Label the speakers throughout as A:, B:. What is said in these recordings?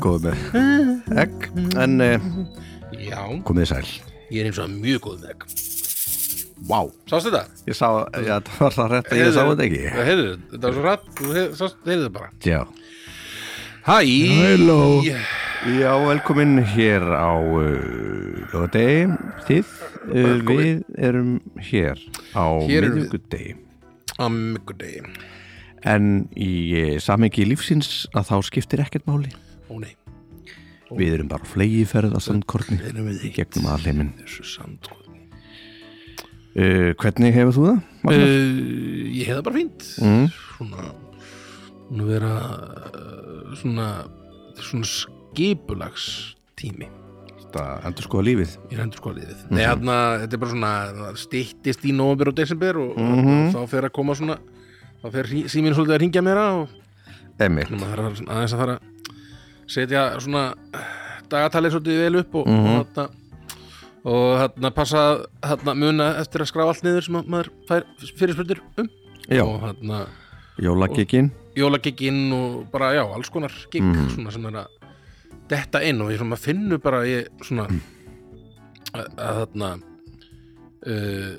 A: góð með eh, egg en eh,
B: Já,
A: komið þið sæl
B: ég er eins og mjög góð með egg.
A: Vá,
B: Sástu þetta?
A: ég sá, já, það var það rétt að ég sá þetta ekki
B: Það heyrðu, þetta var svo rætt, þú heyrðu sást- heyrðu það bara.
A: Já,
B: Hæ!
A: Halló. já velkomin hér á uh, lögadegi þið, uh, við erum hér á
B: Hér erum við.
A: miðugudegi
B: Á mikkudegi.
A: en í eh, samhengi lífsins að þá skiptir ekkert máli
B: Ó nei,
A: við erum bara á flegiferð að sandkorni
B: erum við í
A: gegnum aðleimin
B: þessu
A: sko.
B: sandkorni.
A: uh, Hvernig hefur þú það?
B: Uh,
A: Magnús?
B: ég hefði það bara fínt.
A: Mm.
B: Svona, nú vera, uh, svona, svona skipulags tími.
A: Þetta endur skoða lífið
B: Ég er endur sko liðið.
A: Mhm.
B: Nei, hérna, þetta er bara svona, það styttist í november og desember og,
A: Mhm.
B: og þá fer að koma svona, þá fer hrí- síminn svolítið að ringja mér og
A: Emil
B: Nú maður þarf að- aðeins að fara að setja svona eh, dagatalið svolítið vel upp og mm
A: Mhm.
B: -hmm. og hérna passa að, hérna muna eftir að skrá allt niður sem að maður fær fyrirspurtur um
A: Já,
B: og hérna
A: jólagikkin
B: jólagikinn og bara já, alls konar gikk
A: Mhm.
B: svona sem er að detta inn og ég svona finnu bara ég svona
A: Mm.
B: að, að þarna uh,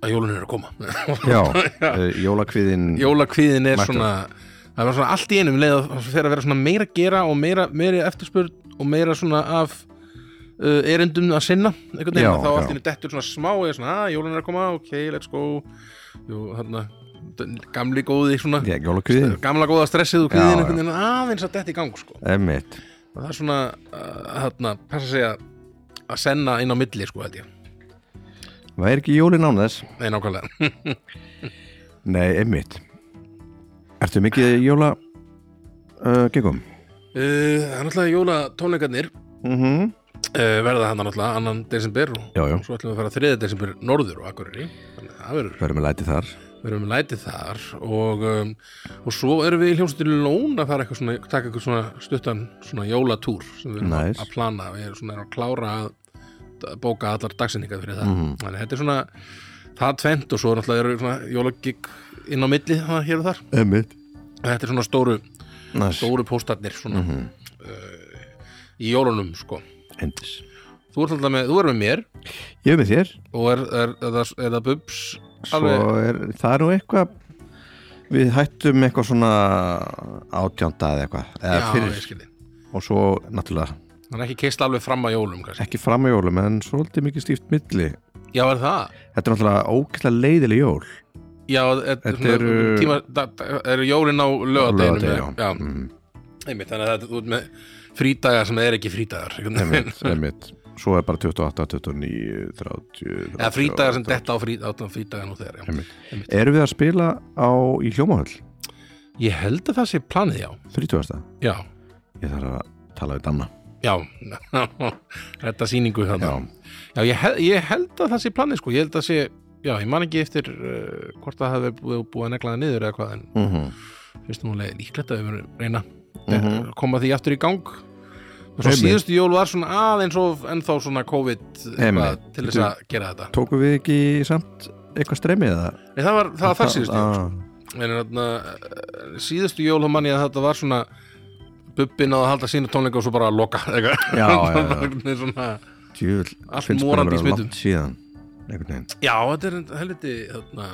B: að jólun eru að koma
A: Já, uh, jólakviðin
B: jólakviðin er
A: Mættur.
B: svona það var svona allt í einum leið að það fer að vera svona meira að gera og meira, meira eftirspurn og meira svona af uh, erindum að sinna einhvern veginn
A: Já,
B: að þá allt
A: já.
B: í einu dettur svona smá eða svona að jólun er að koma, ok, let's go Jú, þarna, d- gamli góði svona eh,
A: Já, jólakviðin
B: gamla góða stressið og
A: Já,
B: kviðin einhvern veginn aðeins að detta í gang sko.
A: Emil
B: og það er svona uh, þarna, passa sig að að senna inn á milli sko held ég,
A: Væri ekki jólin án þess?
B: nei nákvæmlega
A: Nei, Emil Ertu mikið í jóla uh, gekum?
B: Uh, það er náttúrulega jólatónleikarnir
A: Mm -hmm.
B: uh, verða hann náttúrulega annan desember og
A: Já, já.
B: og svo ætlum við að fara þriða desember norður og akkurri þannig að það verður,
A: Verðum við lætið þar
B: verður með lætið þar og, um, og svo erum við í hljómsveitir lón að fara eitthvað svona, taka eitthvað svona stuttan svona jólatúr sem við erum að-
A: Nice.
B: að plana við erum svona erum að klára að d- bóka allar dagsinningar fyrir það
A: Mhm.
B: þannig að þetta er svona það tvent og svo náttúrulega eru svona jólagigg inn á milli það hér og þar
A: Emil
B: þetta er svona stóru,
A: Næs
B: stóru póstarnir svona
A: Mhm.
B: uh, í jólunum sko
A: Endis
B: þú ert alltaf með, þú er með mér
A: Ég er með þér
B: og er, er, er, það, er það bubs alveg
A: Svo er, það er nú eitthvað Við hættum eitthvað svona átjánda eða eitthvað eða
B: já, ég
A: fyrir,
B: skildi
A: og svo náttúrulega
B: hann er ekki keist alveg fram að jólum kannski.
A: ekki fram að jólum en svolítið mikið stíft milli
B: já, er það?
A: Þetta er náttúrulega ógæslega leiðileg jól
B: já, er,
A: Þetta
B: svona,
A: eru-
B: tíma, da, da, eru jólin á lögadeinum
A: Laugardegi,
B: já, já.
A: Mm.
B: Einmitt, þannig að þetta þú ert með frídagar sem er ekki frídagar einhvern veginn.
A: einmitt, einmitt. Svo er bara 28, 29, 30
B: eða frídagar sem detta á frí- á frídagar nú þegar já.
A: Erum við að spila á í hljómahöll?
B: ég held að það sé planið, já
A: 30.
B: já,
A: Ég þarf að tala við Danna
B: já þetta sýningu þarna Já, ég, hel, ég held að það sé planið sko, ég held að sé Já, ég man ekki eftir uh, hvort það hefði búið, búið að negla það niður eða hvað en
A: mm -hmm.
B: finnst nú leið líklegt að við verum reyna mm -hmm. koma því aftur í gang og svo
A: Mhm. Einmitt.
B: síðustu jól var svona aðeins og ennþá svona COVID eitthvað,
A: Einmitt.
B: til þess að gera þetta
A: Tókum við ekki samt eitthvað streymið eða? Ah.
B: Nei, það var það, var þar síðustu jól
A: jól
B: en þarna, eh, síðustu jól þá man ég að þetta var svona bubbin að halda sína tónleika og svo bara að loka eitthvað.
A: Já, já, já.
B: Það var einhvern veginn svona,
A: Djúl,
B: Allt
A: finnst bara
B: morandi
A: að vera
B: í smitum.
A: langt síðan einhvern veginn
B: já, þetta er helviti þarna,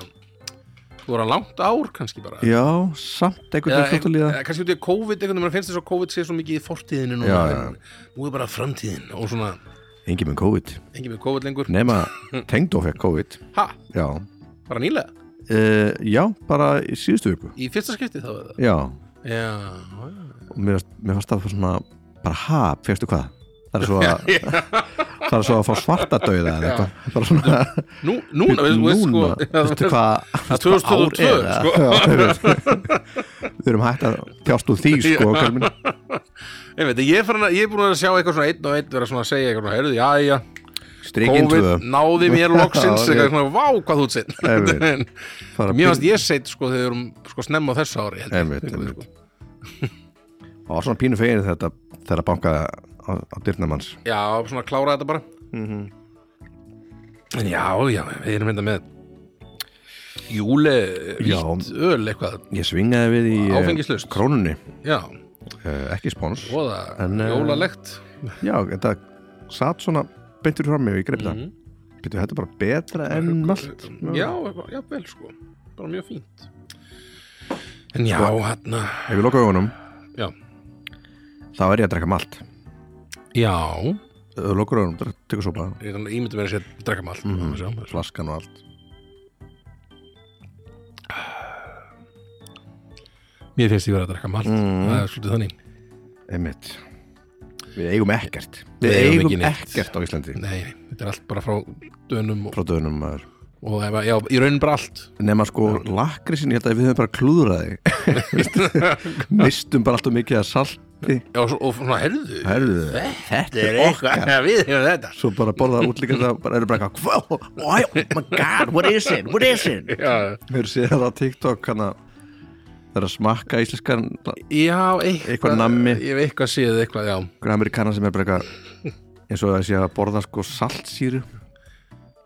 B: þú voru að langt ár kannski bara
A: Já, samt einhvern
B: Eða,
A: veginn flott að líða
B: eða kannski út í COVID, einhvern veginn, maður finnst þess að COVID sé svo mikið í fortíðinu núna,
A: Já,
B: en nú er bara framtíðin og svona,
A: Engi með COVID
B: engin með COVID lengur
A: Nema tengdó fekk COVID
B: Ha,
A: Já,
B: bara nýlega?
A: uh, já bara í síðustu viku
B: Í fyrsta skipti þá er það?
A: Já,
B: Já, já.
A: og mér, varst- mér fannst það svona bara ha, fegstu hvað það er svo að það er svo að fá svarta dauða eða eitthvað bara svona
B: Nú, núna, veist, þú veist sko
A: núna, veistu hvað
B: Það er 2022, sko.
A: sko við erum hægt að tjást úr því sko okkar minn.
B: Ég veit, ég er, farin að, ég er búin að sjá eitthvað svona einn og einn vera svona að segja eitthvað svona, heyrðu, já, já
A: strikin tvö
B: COVID náði mér loksins
A: Já,
B: eitthvað svona, vá, hvað þú sett
A: Einmitt.
B: En
A: fara að
B: Mér fannst ég sett sko þegar við erum sko snemma á þessu ári held ég.
A: Einmitt,
B: Eitthvað,
A: einmitt.
B: sko.
A: pín- og svona pínu fegin þetta þegar bankaði á, á dyrnamanns
B: Já, svona klára þetta bara
A: Mhm.
B: mm -hmm. En já, já, við erum hérna með júle
A: Já.
B: vilt öl eitthvað
A: Ég svingaði við í eh,
B: Áfengislaust.
A: krónunni,
B: já,
A: eh, ekki spons
B: og
A: En,
B: það
A: eh,
B: jólalegt
A: Já, þetta satt svona beintur fram mig og ég greip
B: Mhm.
A: það mm. þetta er bara betra en malt
B: Mm, já, já, vel sko bara mjög fínt hérna, en já,
A: Sko.
B: hann
A: Ef ég loka augunum
B: Já.
A: Þá er ég að drekka malt
B: já,
A: Ef þú lokar augunum, drekka- tekur sopa
B: ég myndi mér að segja drekka malt
A: Mhm.
B: mm. sjá, maður.
A: Flaskan og allt
B: mér finnst ég verið að drekka malt
A: Mhm.
B: það er svolítið þannig
A: Einmitt Við eigum ekkert Við,
B: Við eigum
A: eigum,
B: ekki neitt.
A: ekkert á Íslandi
B: nei, nei, þetta er allt bara frá dönum og,
A: Frá dönum maður
B: og ef að- já, í raunin bara allt
A: Nefna sko lakrisin, ég held að við höfum bara klúðraði Mistum bara alltaf mikið að salti
B: já, og, svo- og svona, herðu
A: Herðu, þetta er okkar
B: við hefum þetta
A: Svo bara borðaði út líka það bara eru bara eitthvað "Wow, Oh my god, what is it, what is it
B: já,
A: Hefur séð það á TikTok hana Það er að smakka íslenskan
B: já eitthvað,
A: Eitthvað nammi.
B: ég hef eitthvað séð eitthvað, já,
A: Amerikanar sem er bara eitthvað eins og þessi að borða sko saltsýru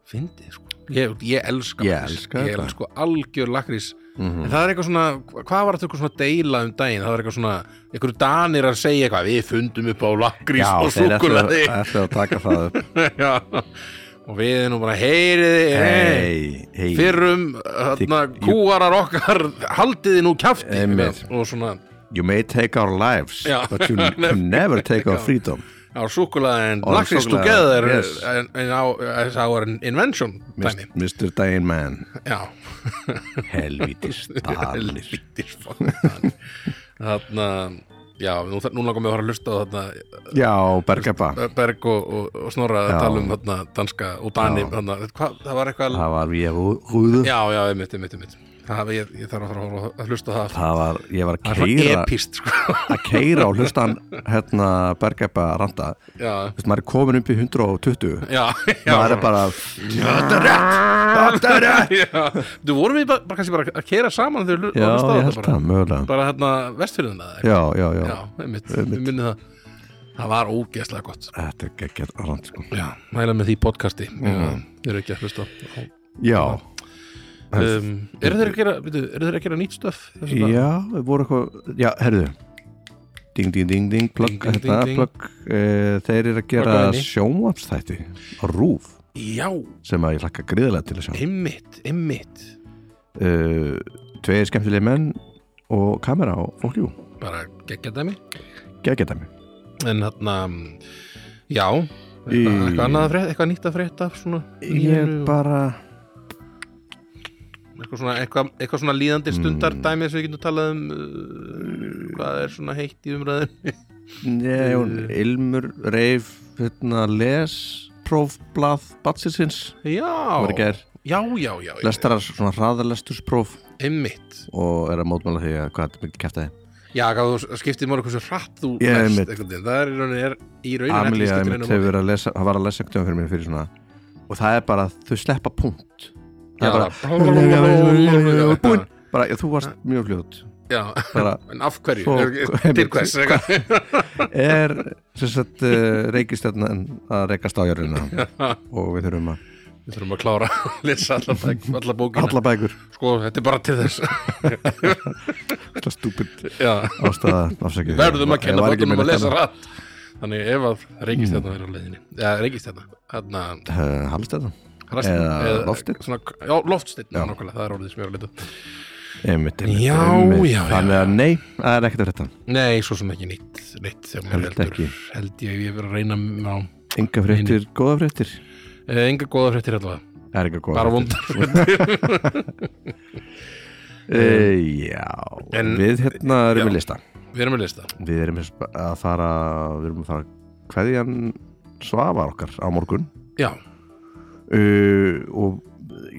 B: fyndið sko ég, ég elska
A: Ég
B: lakrís.
A: elska
B: ég
A: þetta. Mhm.
B: elska algjör lakrís en það er eitthvað svona, hvað var þetta eitthvað svona deila um daginn, það var eitthvað svona einhverju danir að segja eitthvað, við fundum upp á lakrís og
A: þeir ættu að,
B: súkulaði
A: ættu að taka það upp
B: Já. og við erum bara heyriði, hey,
A: Hei, hei
B: fyrrum hérna,
A: Þið-
B: kúarar okkar haldiði nú kjafti
A: Einmitt.
B: og svona
A: You may take our lives
B: Já.
A: But you can never take our freedom
B: á súkulaði and
A: Á
B: lakrís
A: súkkulaði,
B: together
A: yes.
B: and, and our, our invention dæmi,
A: Mr. Dane Man
B: já
A: Helvítis dalir
B: Helvítis fokkan Þarna, já, nú, nú langar mig að fara að hlusta á þarna
A: Já, Bergabba
B: Berg og, og, og Snorra að
A: Já.
B: tala um þarna danska og dani þarna, hva, það var eitthvað
A: Það var ég rúðu
B: Já, já, einmitt, einmitt, einmitt það, ég, ég þarf að fara að horfa á- að hlusta á það
A: Það var, ég var að
B: Það er svona
A: keira
B: epist, sko
A: Að keira og hlusta hann hérna Bergabba randa
B: Já,
A: Þú veist, maður er komin upp í 120
B: já, já
A: maður er bara Þetta er rétt, þetta er rétt
B: Já, þú vorum við bara, bara kannski bara að keira saman þegar við
A: Já,
B: hlusta á
A: ég
B: þetta
A: held
B: bara
A: það, mögulega
B: Bara þarna vestfyrðina Já,
A: Já, já, já,
B: já einmitt, einmitt. minni það Það var ógeðslega gott
A: þetta er geggjart arant sko
B: Já, mæla með því podcasti
A: Mhm.
B: mm. eru ekki að hlusta á.
A: Já,
B: um, eru þeir að gera byrju, eru þeir að gera nýtt stöf
A: já, við voru eitthvað Já, herðu Ding, ding, ding, ding, plugg
B: Ding, ding,
A: þetta,
B: ding, ding.
A: plugg eh, Þeir eru að gera
B: Plugga henni.
A: sjónvapsþætti á RÚV
B: já,
A: sem að ég hlakka griðilega til að sjá
B: einmitt, einmitt
A: uh, Tveir skemmtilega menn og kamera og fólkjú
B: bara geggja dæmi
A: Geggjart dæmi
B: en þarna, mm, já eitthvað,
A: Í-
B: eitthvað annað að frétta, eitthvað nýtt að frétta af svona,
A: Ég
B: nýjunni og-
A: bara,
B: eitthvað, svona eitthvað, eitthvað svona líðandi stundar dæmi sem við getum talað um uh, hvað er svona heitt í umræðin
A: Nei, hún Ilmur reif hérna les prófblað batsinsins var í
B: já,
A: gær
B: já, já, já
A: lestarar svona hraðarlesturspróf
B: einmitt,
A: og er að mótmála því að hvað þetta mikið kæftaði
B: já, hvað þú skiptir mörg hversu hratt þú
A: Ég,
B: lest,
A: einmitt.
B: einhvern veginn. það er í rauninni er í rauninni allir
A: Amelía
B: skiptir
A: einmitt
B: einu máli.
A: hefur verið að lesa hann var að lesa einhvern veginn fyrir mér fyrir svona og það er bara að þau sleppa punkt það
B: Já,
A: er
B: bara-
A: bara búinn bara já, þú varst mjög fljótt
B: Já,
A: bara
B: en af hverju?
A: Svo-
B: Er- til hvers? eitthvað?
A: er sem sagt uh, reikistjarnan að reikast á jörðina og við þurfum að
B: Við þurfum að klára að lesa alla, bæk, alla bókina
A: alla bækur
B: Sko, þetta er bara til þess
A: það stúpid
B: Já,
A: ástæða afsækja
B: verðum að
A: Ég
B: kenna
A: var ekki
B: bókunum
A: meina
B: að lesa
A: þetta.
B: rætt Þannig ef að
A: Mm.
B: reykist þetta verður á leiðinni Já, reykist þetta Þarna,
A: Eh, Hallstæðan
B: hræstin-
A: Eða loftsteinn.
B: svona, Já, loftsteinn, já. nákvæmlega, það er orðið sem ég er að leta
A: Einmitt, einmitt,
B: Já,
A: einmitt.
B: já, já.
A: Þannig að nei, það er ekkert að frétta
B: Nei, svo sem ekki nýtt, nýtt sem maður
A: Held
B: heldur.
A: ekki.
B: Held ég, ég verið að reyna á
A: Enga fréttir, góða fréttir
B: Eh, Enga góða fréttir allavega,
A: Það er ekki góða
B: bara
A: fréttir
B: vondar fréttir
A: uh, Já,
B: Eh, En-
A: við hérna erum
B: já.
A: með lista
B: Við erum að lista
A: Við erum að fara Við erum að fara hverjan Svavar okkar á morgun
B: Já,
A: uh, Og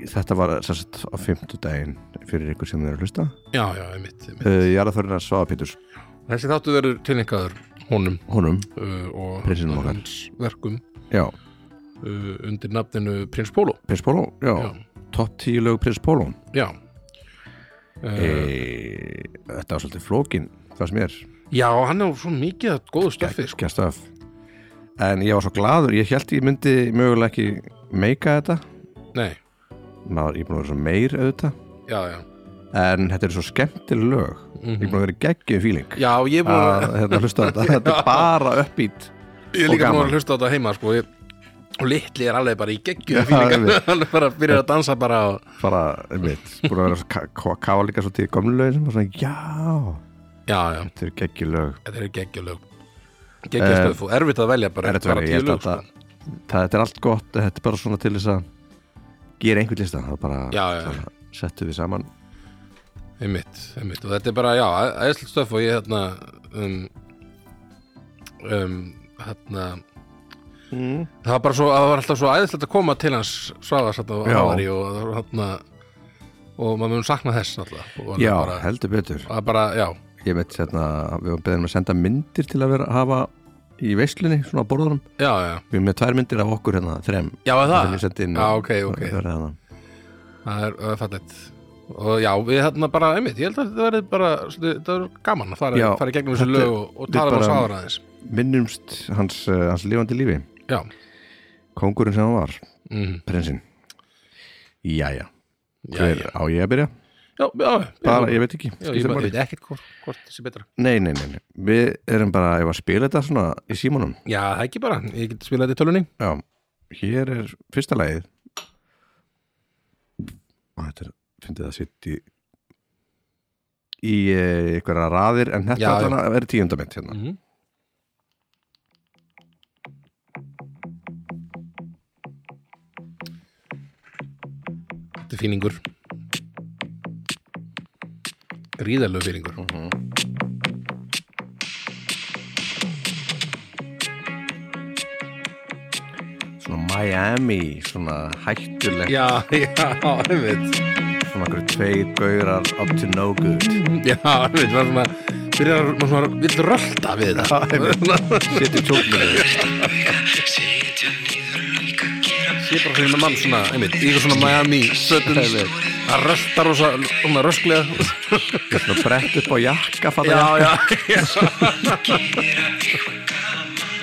A: þetta var sem sagt á fimmtudaginn Fyrir ykkur sem þeir eru að hlusta
B: já, já, einmitt, einmitt.
A: uh, Ég er að þörna Svavar Péturs
B: Þessi þáttu verður tilningaður honum
A: Honum,
B: uh, og
A: Prinsinum okkar.
B: hans verkum
A: já,
B: uh, undir nafninu Prins Pólo
A: Prins Póló Já,
B: Já.
A: topp tíu lög Prins Póló
B: já uh,
A: e, Þetta var svolítið flókin Það sem ég er
B: já, hann er svo mikið að góðu stöfi sko.
A: Gekkja stöf En ég var svo gladur, ég held ég myndi mögulega ekki meika þetta
B: nei,
A: Maður, Ég er búin að vera svo meir auðvitað
B: já, já
A: en þetta er svo skemmtileg lög ég er búin að vera geggjum fíling
B: Já, Mhm. ég er búin
A: að
B: að,
A: hérna, hlusta á þetta, þetta er bara uppbít
B: Ah, ég er
A: og
B: líka búin
A: gaman.
B: að hlusta á þetta heima sko, ég, og litli er alveg bara í geggju
A: Já, einmitt.
B: hann er bara byrjar að dansa bara og,
A: bara, einmitt, búin að vera að ká- káfa líka svo til gömlu lögin sem bara svona, já
B: já, já,
A: þetta er geggjum lög
B: þetta er geggjulög geggjulög, og erfitt að velja bara,
A: Eh, Erfitt að
B: bara
A: velja,
B: tíu
A: ég held
B: lög
A: að
B: sko.
A: þetta- það, þetta er allt gott, þetta er bara svona til þess að gera einhvern listan það er bara,
B: Já, já, já.
A: svona, settu við saman
B: einmitt, einmitt, og þetta er bara, já, æðislega stöf og ég hérna um, um, hérna
A: mm.
B: það var bara svo, það var alltaf svo æðislegt að koma til hans Svavars hérna og
A: Já.
B: Ávari og hérna og maður mun sakna þess alltaf og hann
A: já,
B: bara,
A: heldur betur
B: að bara, já,
A: ég veit, hérna, við varum beðin um að senda myndir til að vera, hafa í veislunni svona á borðunum,
B: já, já
A: við erum með tvær myndir af okkur hérna, þrem
B: já, er
A: sem ég
B: það,
A: sendi inn
B: já,
A: og-
B: ok, ok
A: og- og- hérna.
B: það er, það er fallegt og já, við hérna bara, einmitt, ég held að þetta verði bara þetta verður gaman að fara,
A: Já,
B: fara í gegnum þessu
A: þetta-
B: lög og, og
A: við
B: tala um
A: bara-
B: hans Svavara aðeins
A: minnumst hans, uh, hans lifandi lífi
B: já,
A: kongurinn sem hann var,
B: mm,
A: prinsinn Jæja,
B: já,
A: hver
B: já,
A: á ég að byrja?
B: já, já,
A: Bara,
B: já,
A: ég veit ekki,
B: já,
A: skiptir
B: ég bara-
A: máli.
B: ég veit ekkert hvort, hvort þessi betra
A: Nei, nei, nei, nei, við erum bara ef að spila þetta svona í símanum
B: já, það ekki bara, ég get spilað þetta í tölunni
A: Já, hér er fyrsta lagið og þetta er, fyndið það sitt í í eh, einhverja raðir en þetta
B: Já, já.
A: allan er tíundamind hérna
B: Mhm. Þetta er fíningur Gríðalög fíningur
A: Mhm. svona Miami, svona hættulegt
B: Já, já, einmitt
A: svona einhverju tveir gaurar up to no good
B: Já, einmitt, var svona Byrjar að- maður svona vill rölda við það
A: sittu tjóknir
B: Ég er bara fyrir með mann svona, einmitt Ég er svona Miami Sötum Það rölda rosa, svona rösklega
A: svona brett upp á jakka fattar
B: Já,
A: jakka.
B: já, já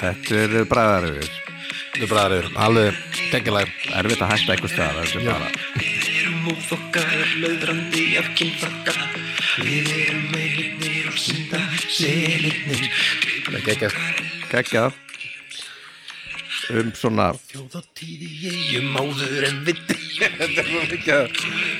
A: þetta er bræðaröfur
B: Þetta er bræðar yfir, alveg geggjalagur
A: erfitt að hætta einhver staðar þetta er
B: Já.
A: bara
C: Við erum ófokkar, löðrandi af kynfakka Við erum meirinnir og synda selirnir
B: Þetta er geggjast
A: geggja um svona
C: Þjóðatíði ég um áður en við deyjum
B: Þetta er svo mikið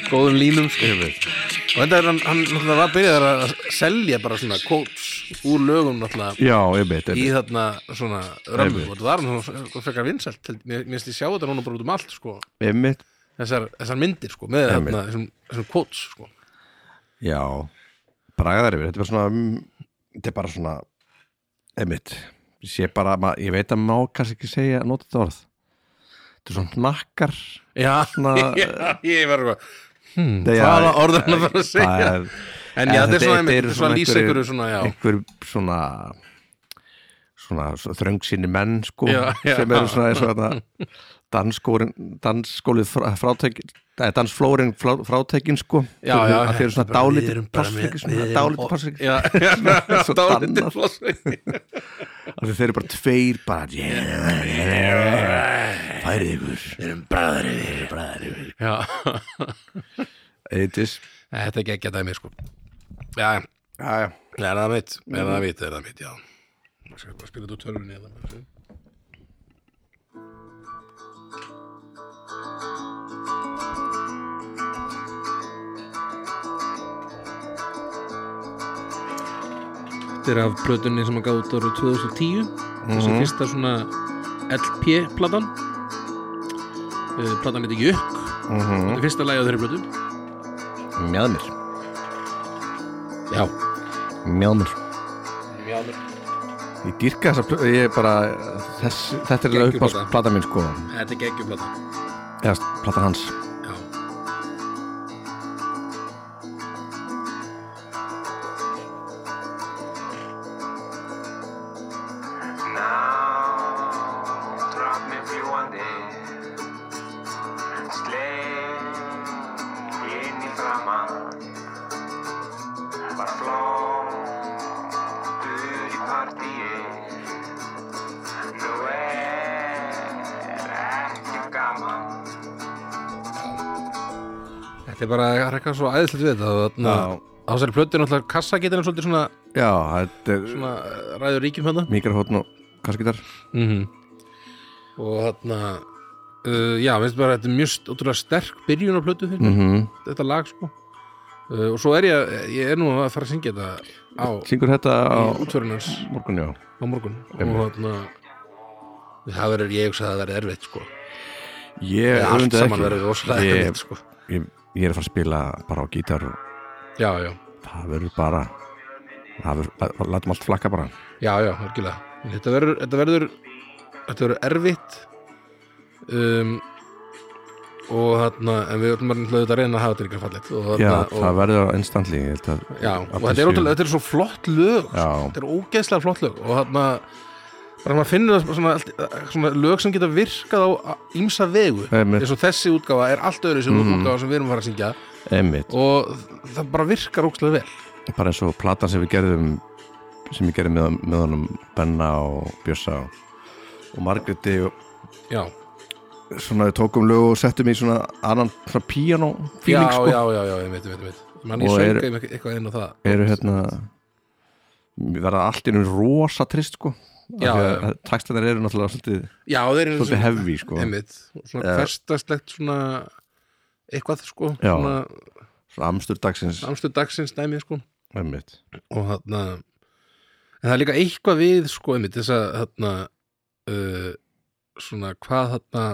B: góðum línum sko. og þetta er hann, hann náttúrulega var byrjaður að selja bara svona kóts úr lögum náttúrulega
A: já, einmitt,
B: í
A: einmitt.
B: þarna svona römmu
A: Einmitt.
B: og það var hann svona frekar vinsælt held- mér mér finnst ég sjá þetta núna bara út um allt sko.
A: einmitt
B: þessar, þessar myndir sko, með
A: Einmitt.
B: þarna, þessum, þessum kóts sko.
A: já, bræðaröfur þetta er bara svona mm, þetta er bara svona einmitt ég, sé bara, ma- ég veit að má kannski ekki segja nota þetta orð þetta er svona nakkar
B: já,
A: svona
B: ég, ég var eitthvað hmm,
A: Nei, já,
B: hvaða orðan að fara að
A: það
B: segja
A: er-
B: en já, þetta er svona,
A: þetta
B: einmitt,
A: eru
B: þetta er svona lýsa
A: einhverjir-
B: ykkur svona, já,
A: einhver svona svona, svona þröngsinni menn sko,
B: Já, já.
A: sem eru svona, svona dansskólin dansskólið frá- frátækin eh, dansflórin frá, frátækin sko
B: Já,
A: Þeir-
B: já.
A: að þeir eru svona
C: Bara, við
A: dálitir
C: erum bara með-
A: plássveiki
C: við erum
A: dálitir
C: og-
A: plássveiki
B: já, já
A: Svo
B: dálítið
A: dannar.
B: flossveik.
A: þeir eru bara tveir bara yeah, yeah, færið ykkur
B: já,
A: eitthis
B: þetta er geggja dæmi sko. já, já
A: já, já
B: Er það mitt? Er það mitt, er það mitt, já Ég skal bara spila þetta úr tölvunni eða bara sjá. Þetta er af plötunni sem að gáði út árið 2010 Þessi fyrsta svona LP-platan uh, Platan heitir Jökk Þetta er fyrsta lagi á þeirri plötu
A: mjadmir,
B: Já,
A: mjadmir
B: mjög alveg
A: ég dýrka þess að ég er bara þess, þetta er
B: Geggjuð
A: uppáðs
B: plata.
A: plata mín sko
B: Þetta er geggjum platan
A: eða plata hans
B: Já
D: Drop me fljúandi Sleim í inn í framann Var flóttur í partíi Nú er ekki gaman
B: þetta er bara það er eitthvað svo æðislega við þetta og þarna-
A: Já.
B: á þessari plötu er náttúrulega kassagetina svolítið svona,
A: Já, þetta er
B: svona ræður ríkjum hérna
A: mikrofón og kasskitar
B: mm
A: Mhm.
B: og þarna uh, já, veist bara, þetta er mjög st- ótrúlega sterk byrjun á plötu fyrir mér,
A: Mhm.
B: þetta lag sko uh, og svo er ég, ég er nú að fara að syngja þetta á
A: Syngur þetta á
B: útförunars
A: morgun, já
B: á morgun og
A: Einmitt.
B: þarna það verður, ég hugsa að það verður erfitt sko
A: Ég
B: allt
A: öfunda
B: saman
A: ekki.
B: verður rosalega
A: Ég-
B: erfitt sko
A: ég, ég er að fara að spila bara á gítar og
B: já, já,
A: það verður bara það verður, latum allt flakka bara
B: já, já, örgilega þetta verður, þetta verður þetta verður erfitt um, og þarna en við öllum bara náttúrulega auðvitað að reyna að hafa þetta líka fallegt og þarna
A: já,
B: og,
A: það verður á instantly ég held að,
B: já, og
A: allir
B: þetta er,
A: séu-
B: ótrúlega, þetta er svo flott lög sko.
A: já,
B: þetta er ógeðslega flott lög og þarna bara maður finnur það svona, allt- svona lög sem geta virkað á ímsa vegu
A: Einmitt. Mhm.
B: eins og þessi útgáfa er allt öðru sem útgáfa sem við erum að fara að syngja
A: einmitt,
B: og það bara virkar ógeðslega vel
A: bara eins og platan sem við gerðum sem ég gerði með, með honum Benna og Bjössa og, og Margréti og
B: já,
A: svona við tókum lög og settum í svona annan svona piano feeling
B: já,
A: sko
B: já, já, já, ég veit, ég veit, ég veit Man, ég
A: Og
B: söng
A: eru-
B: er... eitthvað inn á það
A: eru hérna verða allt í einu rosa trist sko
B: Já, já, já.
A: takstanir eru náttúrulega svolítið,
B: Já, þeir eru
A: svolítið hefvi sko
B: einmitt, Svona
A: Já.
B: hverstastlegt svona eitthvað sko
A: Já.
B: svona
A: Svo amstur dagsins
B: amstuð dagsins dæmið sko
A: einmitt
B: og þarna en það er líka eitthvað við sko einmitt þess að þarna uh, svona hvað þarna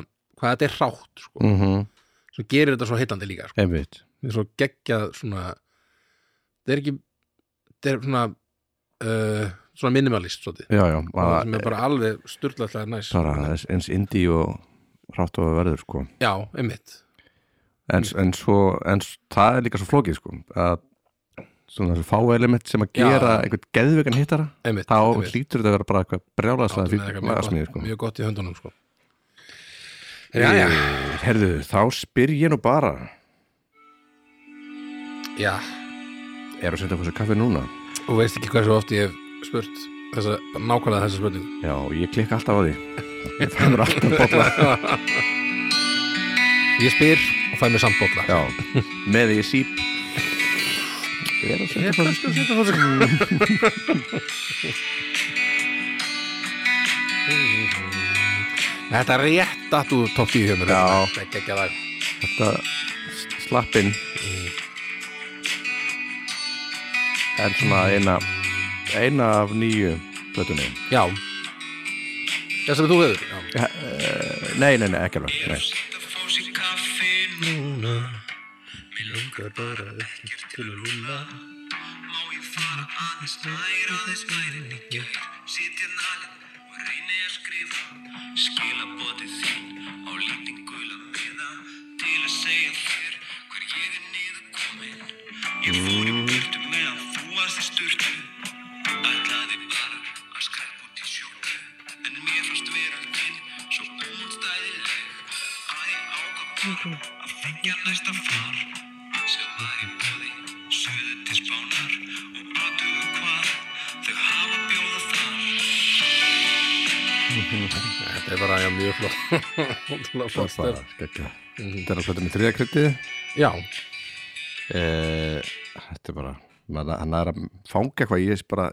B: hvað þetta er hrátt sko
A: mm
B: sem gerir þetta svo heillandi líka sko
A: einmitt
B: það er svo geggjað svona það er ekki það er svona uh, svona minimalist svolítið
A: já, já,
B: það
A: bara,
B: sem er bara alveg styrlaðlega næs
A: bara eins- eins indi og rátt og verður sko
B: já, einmitt
A: en, en svo, en s- það er líka svo flókið sko að svona þessu fá element sem að
B: Já.
A: gera einhvern geðvegan hittara
B: einmitt,
A: þá
B: einmitt.
A: hlýtur þetta að vera bara eitthvað brjálaðslega
B: Áttu með eitthvað
A: fyrir
B: mjög,
A: lagasmið
B: gott,
A: sko
B: mjög gott í höndunum sko. já, já,
A: Eh, Herðu, þá spyr ég nú bara
B: já
A: er að senda hversu kaffi núna?
B: og veist ekki hversu oft ég hef spurt þessa, nákvæmlega þessa spurning
A: Já, ég klikka alltaf á því ég fannur alltaf bolla
B: ég spyr og fæ mér samt bókla
A: Já, með því ég síp er að senda hversu
B: þetta er rétt að þú topp 10 hjá mér
A: Já.
B: hérna. Þetta er geggjað lag.
A: þetta s- slappinn er svona eina eina af nýju plötunni
B: já það sem þú hefur já.
A: nei, nei, nei, ekki alveg nei.
C: að fá sér kaffi núna Mér langar bara ekkert til að rúla Má ég fara aðeins nær, aðeins nær en ég gær Sitja nalinn og reyni að skrifa Skila bótið þín á lítið gula miða Til að segja þér hver ég er niður komin Ég fór í burtu með að þú varst í sturtu Ætlaði bara að skræpa út í sjóku En mér fannst veröldin svo ómótstæðileg Að ég ákvað bara að fengja næsta far Sem var í bóði söðu til spánar Og aðtuga hvað þau hafa að bjóða þar
B: þetta er bara já, mjög flott Ótrúlega flott
A: Bara
B: stöf.
A: geggjað. þetta er að plötunni þriða kryttið
B: já,
A: eh, þetta er bara maður- hann er að fanga eitthvað ég er bara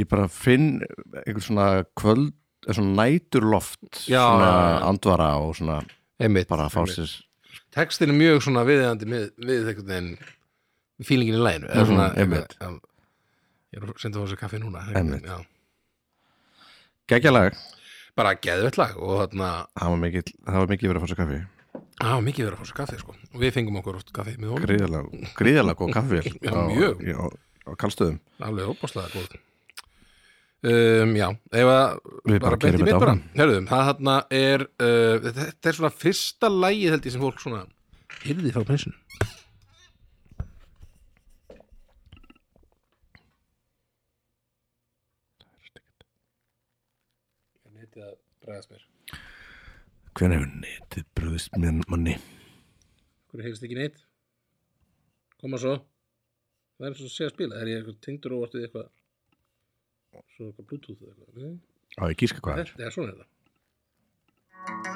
A: ég bara finn einhver svona kvöld eh, svona næturloft
B: Já,
A: svona
B: já, já.
A: andvara og svona
B: einmitt
A: bara að fá
B: einmitt.
A: sér
B: textin er mjög svona viðeigandi með, við einhvern veginn fílingin í læginu eða
A: Mhm,
B: svona
A: einmitt.
B: já, ég er að senda þessu kaffi núna
A: Einmitt.
B: já.
A: geggjalag
B: bara geðvett lag og þarna
A: það var mikið, það var mikið verið að fá sér kaffi
B: á mikið verið að fá þessu kaffi sko og við fengum okkur oft kaffi með honum
A: gríðalega, gríðalega góð kaffi
B: Já,
A: á-
B: mjög.
A: í- á, á kallstöðum
B: alveg óbáslega góð um, já, ef að
A: Við bara
B: bara
A: keyrum
B: beint í mitt
A: þetta
B: bara
A: áfram.
B: herruðum, það þarna er uh, þetta, þetta er svona fyrsta lægi held ég sem fólk svona hyrði frá prinsinu Netið að bregðast mér
A: hvernig hefur netið bröðist með manni
B: Hverju heyrist ekki neitt? Koma svo Það er eins og sé að spila, er ég eitthvað tengdur og vartu eitthvað Svo eitthvað bluetooth eða eitthvað Nei,
A: á ég gíska hvað er
B: Þetta er svona er þetta
D: Ég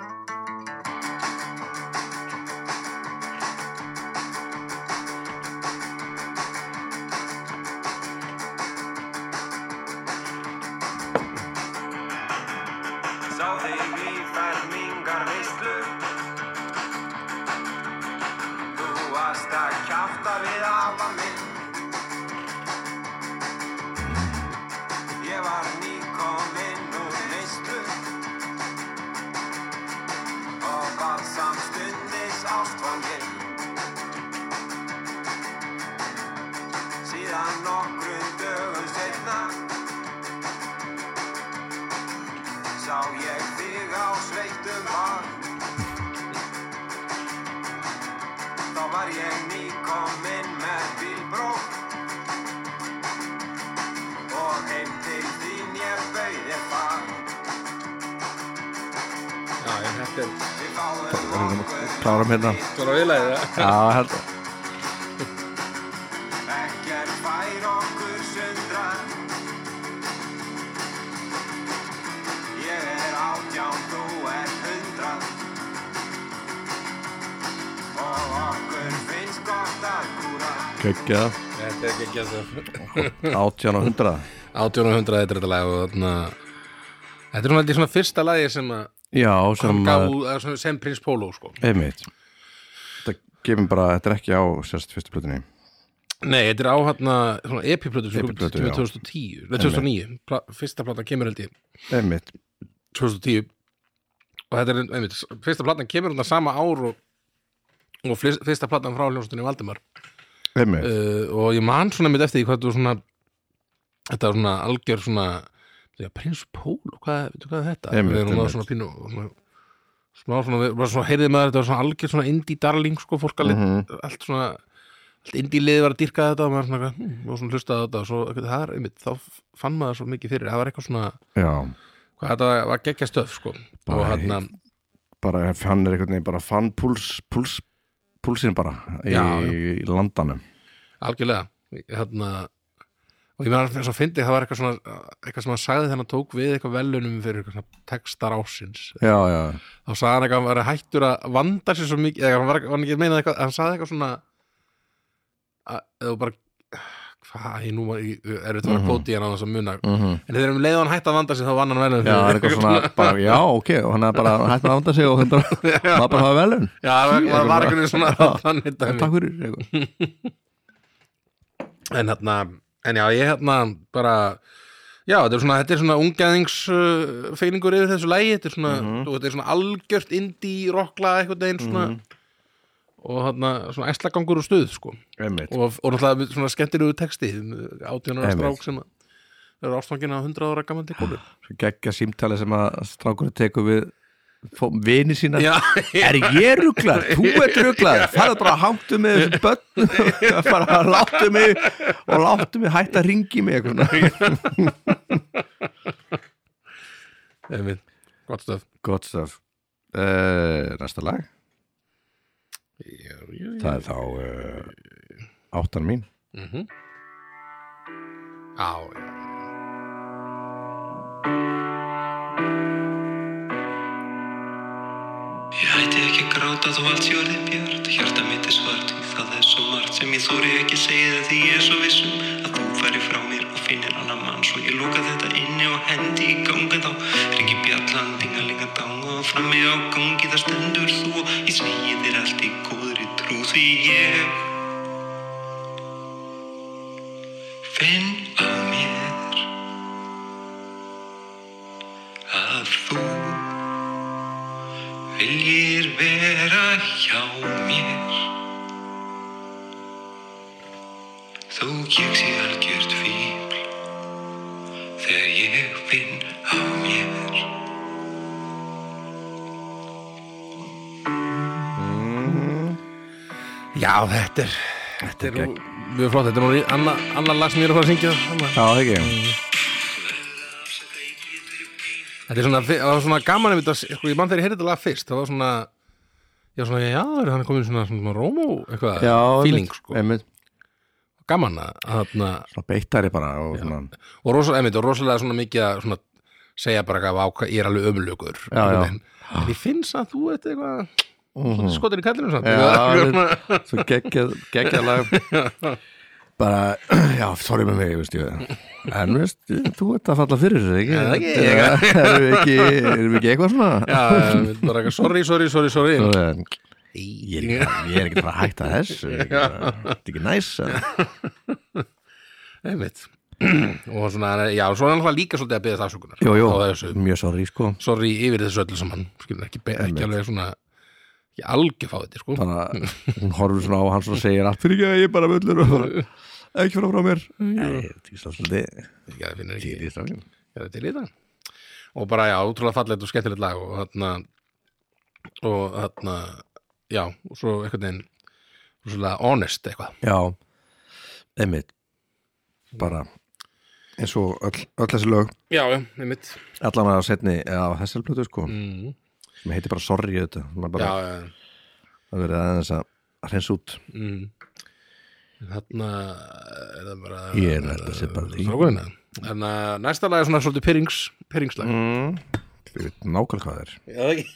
D: ég nýkominn með bílbrók Og heim til þín ég bauði far
B: Já, ég hætti að
D: Við fáum okkur
A: klárum hérna
B: Klára viðlæðið það
A: Já, held
D: Ekkert fær okkur sundra Ég er átján, þú er hundra Og okkur finnst gott að kúra
A: Kekja
B: Þetta er ekki ekki að það
A: 18 og 100
B: 1800 þetta er þetta lag og þarna Þetta er svona held ég, svona fyrsta lagi sem að
A: Já,
B: sem,
A: sem að
B: gaf, sem, sem prins Pólo sko.
A: Einmitt Þetta gefum bara, þetta er ekki á sérst fyrstu plötunni
B: Nei, þetta er á hérna svona epiplötu sem kom
A: Epiplötu,
B: til
A: já.
B: 2010 Nei, 2009, pla, fyrsta platan kemur held ég
A: Einmitt
B: 2010 og þetta er einmitt, fyrsta platan kemur hérna sama ár og, og flis- fyrsta platan frá hljómsveitinni Valdimar
A: Einmitt
B: uh, og ég man svona mitt eftir því hvað þú svona þetta var svona algjör svona já, prins Pólo, hvað, veitu hvað er þetta
A: Einmitt,
B: Þegar hún var
A: einmitt.
B: svona pínu svona, smá svona, bara svona heyrði maður þetta var svona algjör svona indie darling sko fólk alveg,
A: Mhm.
B: allt svona allt indie liðið var að dýrka þetta og maður svona, hm, og svona hlustaði á þetta og svo, það er einmitt, þá fann maður svo mikið fyrir, það var eitthvað svona
A: Já
B: hvað þetta var geggja stöf sko og
A: Bara
B: hérna,
A: Bara ef hann er einhvern veginn bara fann púls, púls púlsinn bara í,
B: Já,
A: í landanum
B: algjörlega hérna og ég meðan þess að fyndi það var eitthvað svona eitthvað sem hann sagði þegar hann tók við eitthvað velunum fyrir eitthvað svona textar ásins
A: Já, já
B: þá sagði hann eitthvað að hann var hættur að vanda sér svo mikið eða hann var, var hann ekki að meina eitthvað hann sagði eitthvað svona að, eða þú bara hvað, ég nú var- ég- er þetta að
A: Mhm.
B: vera kóti hann á þess að muna
A: mm
B: en þegar um leið og hann hætti að vanda sér þá vann hann velunum
A: Já, það er eitthvað svona bara, Já, ok, og hann er bara hætt að ánda sig og þetta var bara að hafa velun
B: já, það var- var, var eitthvað svona
A: Já.
B: þannig dæmi.
A: Takk fyrir eitthvað.
B: en hérna, en já, ég hérna bara, já, þetta er svona þetta er svona ungeðingsfeiningur yfir þessu lægi, þetta er svona, þú, þetta er svona algjört indie rockla eitthvað einn svona og hérna, svona æslagangur og stuð, sko,
A: Einmitt
B: og, og náttúrulega svona skemmtilegu texti, átjónara
A: Einmitt.
B: strák sem að eru ástfangin á 100 ára gamandi kólu.
A: geggja símtali sem að strákurinn tekur við fó- vini sína
B: Já,
A: er ég rugglar, þú ert rugglar farðu bara um að hangtu með þessum börnum bara að láttu mig og láttu mig hætta að ringi mig eitthvað svona.
B: einmitt, gott stöf.
A: gott stöf uh, næsta lag,
B: Já, já, já.
A: það er þá uh, áttan mín
B: Mhm. Já, já.
C: Ég hætti ekki að gráta þó allt sé orðið bjart Hjarta mitt er svart og það er svo margt sem ég þóri ekki að segja þér því ég er svo vissum að þú færi frá mér og finnir annan mann svo ég lóka þetta inni og hendi í ganga þá ringi bjallan, dingalinga danga og frammi á gangi það stendur þú og ég segi þér allt í góðri trú því ég finn að mér að þú viljir vera hjá mér Þó ég sé algjört fíbl þegar ég finn á mér
B: Já, þetta er Þetta er nú, mjög flott, þetta er nú anna- annar lag sem ég er að fara að syngja annað.
A: já, það ekki
B: Þetta er svona, það var svona gaman einmitt að, sko, ég mann þegar ég heyrði þetta lag fyrst það var svona, já svona, já, er hann komin í svona, svona rómó, eitthvað
A: já,
B: feeling, sko,
A: einmitt,
B: gaman að, að þarna,
A: svona beittari bara og svona,
B: og rosalega, einmitt, og rosalega svona mikið að svona, segja bara eitthvað, ákvað, ég er alveg ömulugur
A: Já, já. Mhm.
B: en ég finn samt þú þetta eitthvað mm. skotir í kallinu samt
A: Já, hérna.
B: Eitthvað,
A: einmitt. svo geggjað geggjað lag bara, já, sorry með mig, veist ég en veist, þú ert að falla fyrir þessu, ekki?
B: það ekki,
A: ekki erum við ekki, erum við ekki eitthvað svona?
B: já, einmitt, bara eitthvað, sorry, sorry, sorry, sorry
A: Svo er hann, ég er
B: Í-
A: ekki, ég er ekki bara að hætta þessu ég er ekki bara- þetta er ekki næs en-
B: einmitt og svona, já, svo er hann alltaf líka svolítið að beðast afsökunar
A: jú, jú,
B: á þessu
A: mjög sorry, sko
B: sorry yfir þessu öllu saman skilur ekki, be- ekki alveg svona ekki algjör fá þetta sko
A: þannig að hún horfur svona á hann svona og segir allt fyrir ekki að ég er bara völlur og bara, ekki frá frá mér Nei, þetta er svolítið
B: já, það finnir ekki,
A: þetta er strákin.
B: já, þetta er lita og bara já, útrúlega fallegt og hérna- skemmtilegt lag og þarna og þarna, já, og svo einhvern veginn svona honest eitthvað
A: Já, einmitt bara eins og öll, öll þessi lög
B: já, já, einmitt
A: allan að setni á þessari plötu sko
B: mm.
A: sem heitir bara sorry þetta það er
B: já,
A: bara
B: já, já
A: að verið aðeins að hreins út
B: mm. þarna er það bara
A: Ég er að þetta sé bara því.
B: strákurinn þannig að næsta lag er svona svolítið pyrrings pyrringslag
A: mm. Ég veit nákvæmlega hvað það er
B: já, það ekki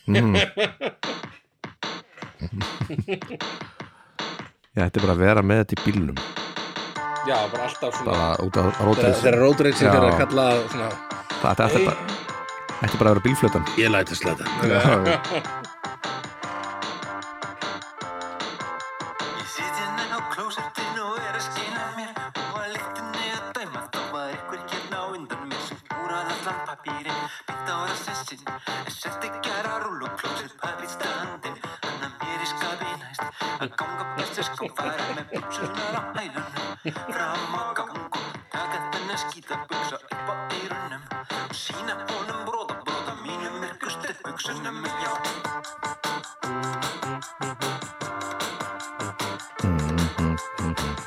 A: Já, þetta er bara að vera með þetta í bílnum
B: já, bara alltaf svona
A: Mm. bara út á rótrið
B: þegar rótreysing
A: Já.
B: er að kalla svona
A: Þetta þetta er bara Þetta er bara að vera bílflötan
B: ég læti sletta
D: Ég sit hérna á klósettinu og er að skina mér og að lyktinni að dæma þá var ykkur hérna á undan mér sem úrar allan papírinn beint á rassessin en sett ekki að rúlu klósett papír standin hann að mér í skapi næst að ganga bestu sko fara með buksunar á hælunum fram á gangu taka þennan skýta buksa upp á eyrunum og sína honum bróða bróða mínum er gustu buksunum já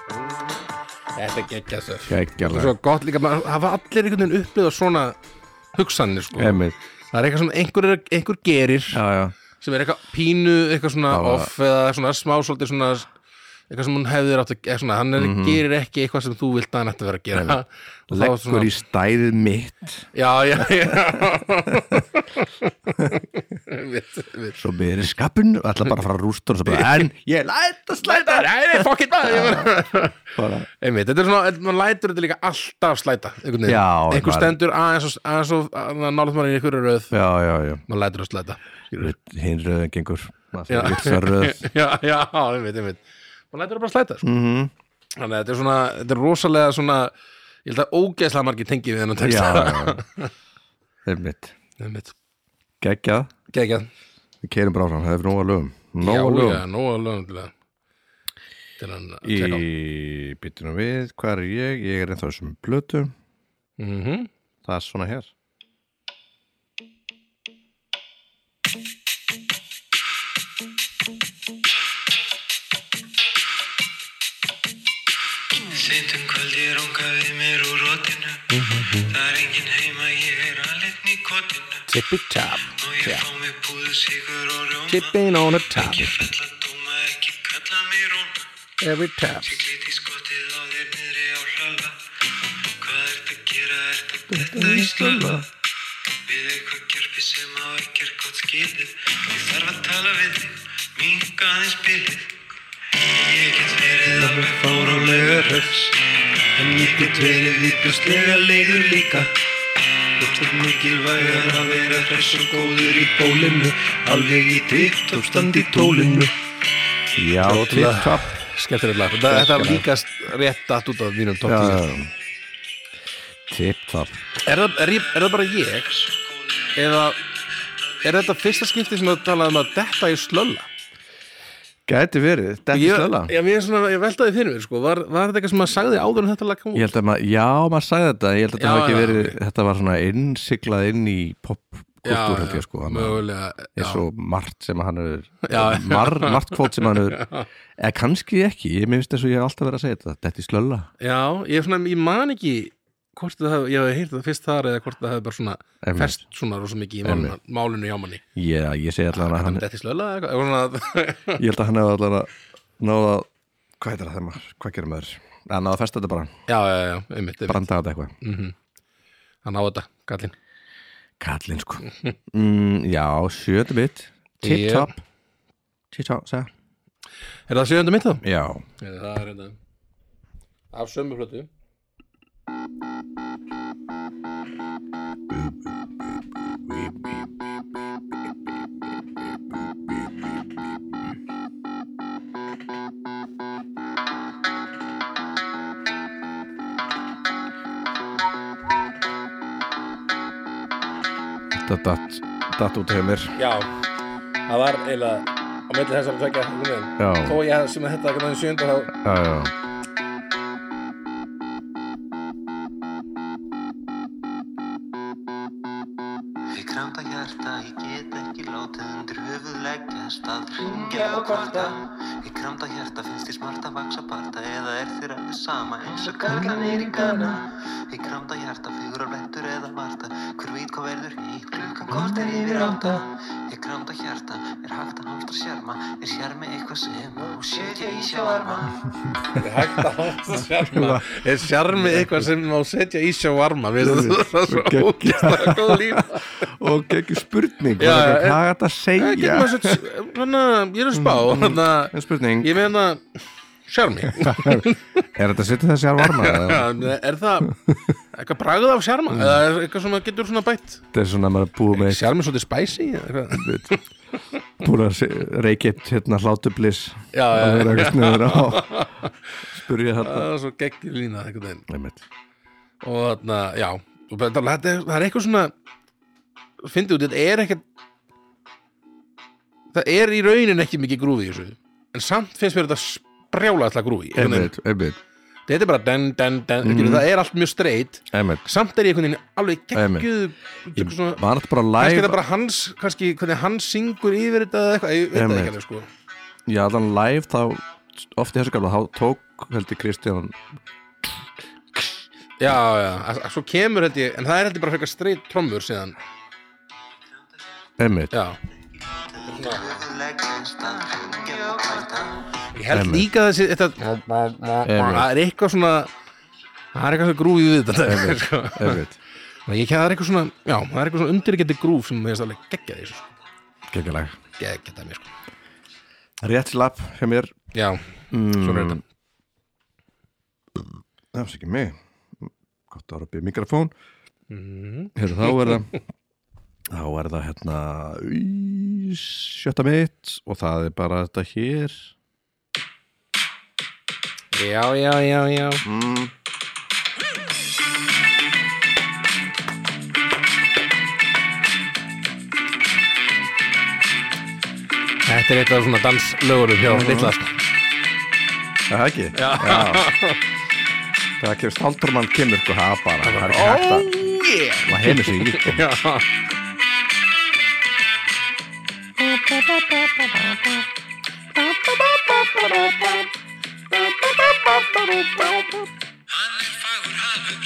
B: þetta er geggja sér og
A: Gægjala
B: svo gott líka, maður- hafa allir einhvern veginn upplifað svona hugsanir sko.
A: Einmitt
B: það er eitthvað svona, einhver, er, einhver gerir
A: Já, já
B: sem er eitthvað pínu, eitthvað svona
A: Bara-
B: off eða svona smá svolítið svona eitthvað sem hún hefðir átt að eða svona, hann er, gerir ekki eitthvað sem þú vilt að hann ætti að vera að gera Og þá
A: Mhm. Leggur
B: svona-
A: í stæðið mitt
B: já, já, já Einmitt, einmitt.
A: Svo mér er skapin Ætla bara að fara að rústa og svo bara En ég læt að slæta
B: Slæta, nei, nei, fuck it maður ég meina-
A: bara.
B: Einmitt, þetta er svona, maður lætur þetta líka alltaf slæta einhvern veginn,
A: Já,
B: einhver
A: maður-
B: stendur aðeins og, aðeins og nálaðt maður í einhverju röð
A: Já, já, já
B: maður lætur að slæta skilurðu.
A: Hinn röðin gengur
B: Já.
A: Vitsa röð
B: já, já, einmitt, einmitt maður lætur það bara slæta sko.
A: Mhm.
B: þannig að þetta er svona, þetta er rosalega svona ég held að ógeðslega margir tengi við þennan
A: Já,
B: texta
A: já, já Einmitt
B: einmitt,
A: Gægjað
B: geggjað
A: Við keirum bara áfram Það er nóga lögum
B: já,
A: Nóga
B: já,
A: lögum
B: nóg að lögum til að til hann að tjekka á
A: Í byttunum við Hvað er ég? Ég er ennþá sem blötu
B: Mhm.
A: Það er svona hér
C: Seintum kvöldi runga við mér úr rótinu Það er enginn heima, ég er alinn í kotinu
B: tippy tap
C: Nú ég fá mig búðu sigur og rjóma
B: tipping on a tap,
C: Ekki fella dóma, ekki kalla mig róna
B: every tap
C: Siglið í skottið á þér niðri á hlala Hvað ert að gera, ert að detta í slala Við eitthvað gerpi sem á ekki er gott skilið Ég þarf að tala við þig, minga aðeins bilið Ég get verið alveg fárólega hröss En ég get verið viðbjóðslega leiður líka Þetta er mikilvægar að vera hress og góður í bólinu Alveg í tipt og standi í tólinu
A: Já, tipp-topp
B: skemmtilega, þetta þetta var líka rétt datt út af mínum top
A: Já,
B: 10
A: já, já. Tipp-topp
B: er, það- er, ég- er það bara ég eða er þetta fyrsta skipti sem það talaði um að detta í slölla
A: Gæti verið, þetta er
B: ég,
A: slöla
B: já, mér er svona, ég veltaði fyrir mér sko. var, var þetta eitthvað sem maður sagði áður en þetta lag kom
A: Ég
B: út?
A: held að maður, já maður sagði þetta Ég held að
B: Já,
A: þetta hafi
B: já,
A: ekki verið,
B: ok.
A: þetta var svona innsiglað inn í popkultúr held ég sko hann að-
B: mögulega já.
A: eins og margt sem hann er
B: Já.
A: mar, margt kvót sem hann er eða kannski ekki, ég mér finnst þess að ég hef alltaf verið að segja þetta þetta er slölla
B: já, ég, er svona, ég man ekki hvort það hef, ég hef heyrt það fyrst þar eða hvort það hef bara svona
A: Einmitt.
B: fest svona rosa mikið í málinu, málinu hjá manni
A: ég, ég segi allan að hann
B: þetta er slölla eða eitthvað eitthvað svona-
A: ég held að hann hef allan að náða hvað heitir það þegar maður, hvað gerir maður að náða að festa þetta bara,
B: já, já, já, einmitt, einmitt.
A: branda þetta eitthvað
B: hann á þetta, kallinn
A: kallinn sko mm, já, sjötu mitt
B: Ég-
A: tip-top tip-top, segja
B: er það sjöðundu mitt þá?
A: já,
B: er það er þetta af sömu flötu
A: þetta datt datt út hjá mér
B: já, það var eiginlega á melli þessar að tvekja þó
A: já,
B: ég sem að þetta ekki sjöðundu þá
A: já, já
D: Ég kramta hjarta, ég get ekki látið undir höfuð leggjast að ringja og kvarta Í kramda hjarta finnst þér smart að vaksa parta Eða er þér alveg sama eins og karlanir í gana Í kramda hjarta figurar blettur eða varta Hver veit hvað verður í klukkan kort er yfir átta Í kramda hjarta er hægt að hamstra sjarma Er sjarmi eitthvað sem og setja í sjáarma
B: er hægt að hátta sjarma er sjarmi eitthvað sem má setja í sjá varma við
A: Þú
B: það
A: veist,
B: er svo
A: geggjað.
B: ógæslega góð líf
A: og ekki spurning
B: Já,
A: hvað er
B: já, en-
A: þetta að
B: Ég
A: segja
B: getur maður sett, þannig að hérna, ég er að spá þannig
A: Mm, En
B: að
A: spurning,
B: ég meina sjarmi
A: er þetta að setja þessi að varma eða?
B: er það eitthvað bragð af sjarma
A: Mm.
B: eða er eitthvað sem maður getur svona bætt
A: þetta er svona að maður er búið með
B: sjarmi svolítið spicy eða eitthvað?
A: búin að se- reykja eitt hérna hlátubliss
B: Já, já,
A: að vera eitthvað sniður á spurja þetta
B: það er svo geggjur lína einhvern veginn
A: Einmitt.
B: og þarna, já og þetta, þetta er- það er eitthvað svona fyndið út, þetta er ekkert það er í raunin ekki mikið grúfi í þessu en samt finnst mér þetta sprjála alltaf grúfi einhvern veginn.
A: einmitt, Mhm. einmitt,
B: þetta er bara den, den, den, mm. það er allt mjög streitt
A: einmitt
B: samt er ég einhvern veginn alveg
A: Einmitt.
B: geggjuð
A: ég
B: svona-
A: var þetta bara
B: kannski er
A: live
B: þetta bara hans, kannski hvernig hann syngur yfir þetta eða eitthvað, ég veit það
A: Einmitt.
B: ekki alveg sko
A: Já, allan live þá oft í þessu gamla, þá tók heldur Kristján
B: já, já, að, að svo kemur held ég en það er held ég bara frekar streitt trommur síðan
A: Emmett,
B: já
D: Leggjast að ringja og kvarta
B: Ég held
A: Einmitt.
B: líka þessi þetta, það er eitthvað svona það er eitthvað svona grúfið við þetta sko.
A: Emmett
B: Þannig að ég það er eitthvað svona, já, það er eitthvað svona undirgeti grúf sem mér finnst alveg geggja þessu sko.
A: Kekkalag
B: geggja það mér sko
A: Rétt slapp hjá mér
B: já, svona er þetta
A: Það er ekki mig Gott að röpja mikrofón Hér, Þá er það Þá er það hérna í Sjötta mitt Og það er bara þetta hér
B: já, já, já, já Þetta er eitthvað svona danslögurum hjá litla sko.
A: Er Það ekki? Já, Það kemur staldurmann kemur sko Það er bara, það er ekki hægt að
B: Oh yeah
A: Það heimur sig í sko.
B: Já
C: Hann er fagur hafur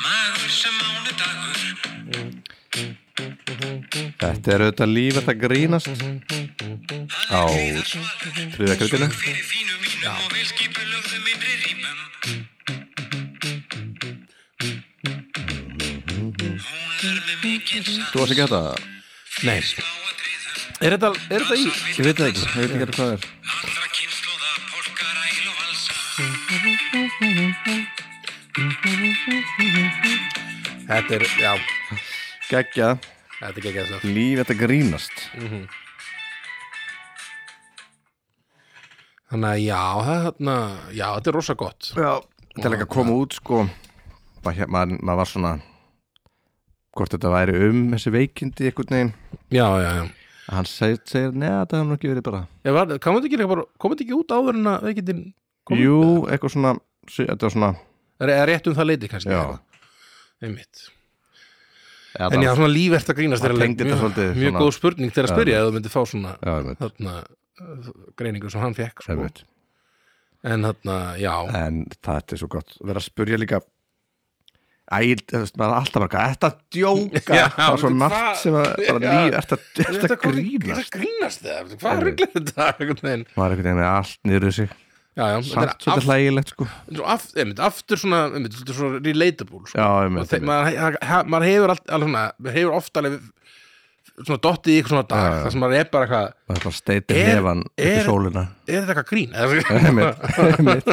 C: Magur sem mánudagur
A: Þetta er auðvitað líf Þetta grínast Á Þriða kreitinu
C: Fyrir fínum mínum og velskipu lögðum innri rýmum Hún er með mikinn
A: Þú varst ekki þetta?
B: Nei,
C: sáadriðum
B: er þetta, er þetta í?
A: Ég veit það ekki, ég veit ekki hvað það er
C: Allra kynnslóða polkar æl og valsa
B: Þetta er, já,
A: Gægja,
B: þetta er geggjað þessu
A: líf þetta grínast
B: Þannig að já, það er þarna, já, þetta er rosa gott
A: Já Þetta er ekki að koma út sko bara hér- maður maður var svona hvort þetta væri um þessi veikindi einhvern veginn
B: Já, já, já
A: að hann segir, segir neða þetta hefur nú ekki verið bara
B: Ég var, komið þetta ekki, líka bara- kom þetta ekki út áður en að veikindin kom
A: Jú, eitthvað svona sí- þetta var svona
B: Er, er rétt um það leiti kannski
A: Já.
B: Einmitt.
A: eða,
B: En já, svona lífert að grínast er
A: Það
B: alveg
A: tengdi þetta
B: mjög,
A: svolítið
B: mjög
A: svona-
B: góð spurning til að
A: Já.
B: spyrja eða þú myndir fá svona
A: Já, ég veit,
B: þarna, uh, greiningu sem hann fekk
A: ég
B: sko.
A: veit
B: En þarna, já
A: En það er svo gott að vera að spurja líka Æ, þú veist, maður er alltaf bara eitthvað, Þetta djóka,
B: Já,
A: það er svo
B: veitu
A: margt
B: hvað?
A: sem að bara
B: Já.
A: líf, þetta, þetta
B: kom- þetta
A: grínast
B: grínast það, hvað rugglar þetta einhvern veginn?
A: maður er einhvern veginn með allt niður þessi
B: já, já, þetta er
A: samt svolítið hlægilegt sko
B: aftur, af, einmitt, aftur svona, einmitt, svolítið svona relatable sko.
A: Já,
B: Og
A: einmitt,
B: þe- maður he- ha- maður hefur allt, alveg svona, maður hefur oft alveg svona dottið í eitthvað svona dag
A: já.
B: þar sem maður er bara eitthvað
A: maður bara steitir
B: Er-
A: nefan upp í
B: er-
A: sólina
B: er þetta eitthvað grín? Eða-
A: einmitt, einmitt.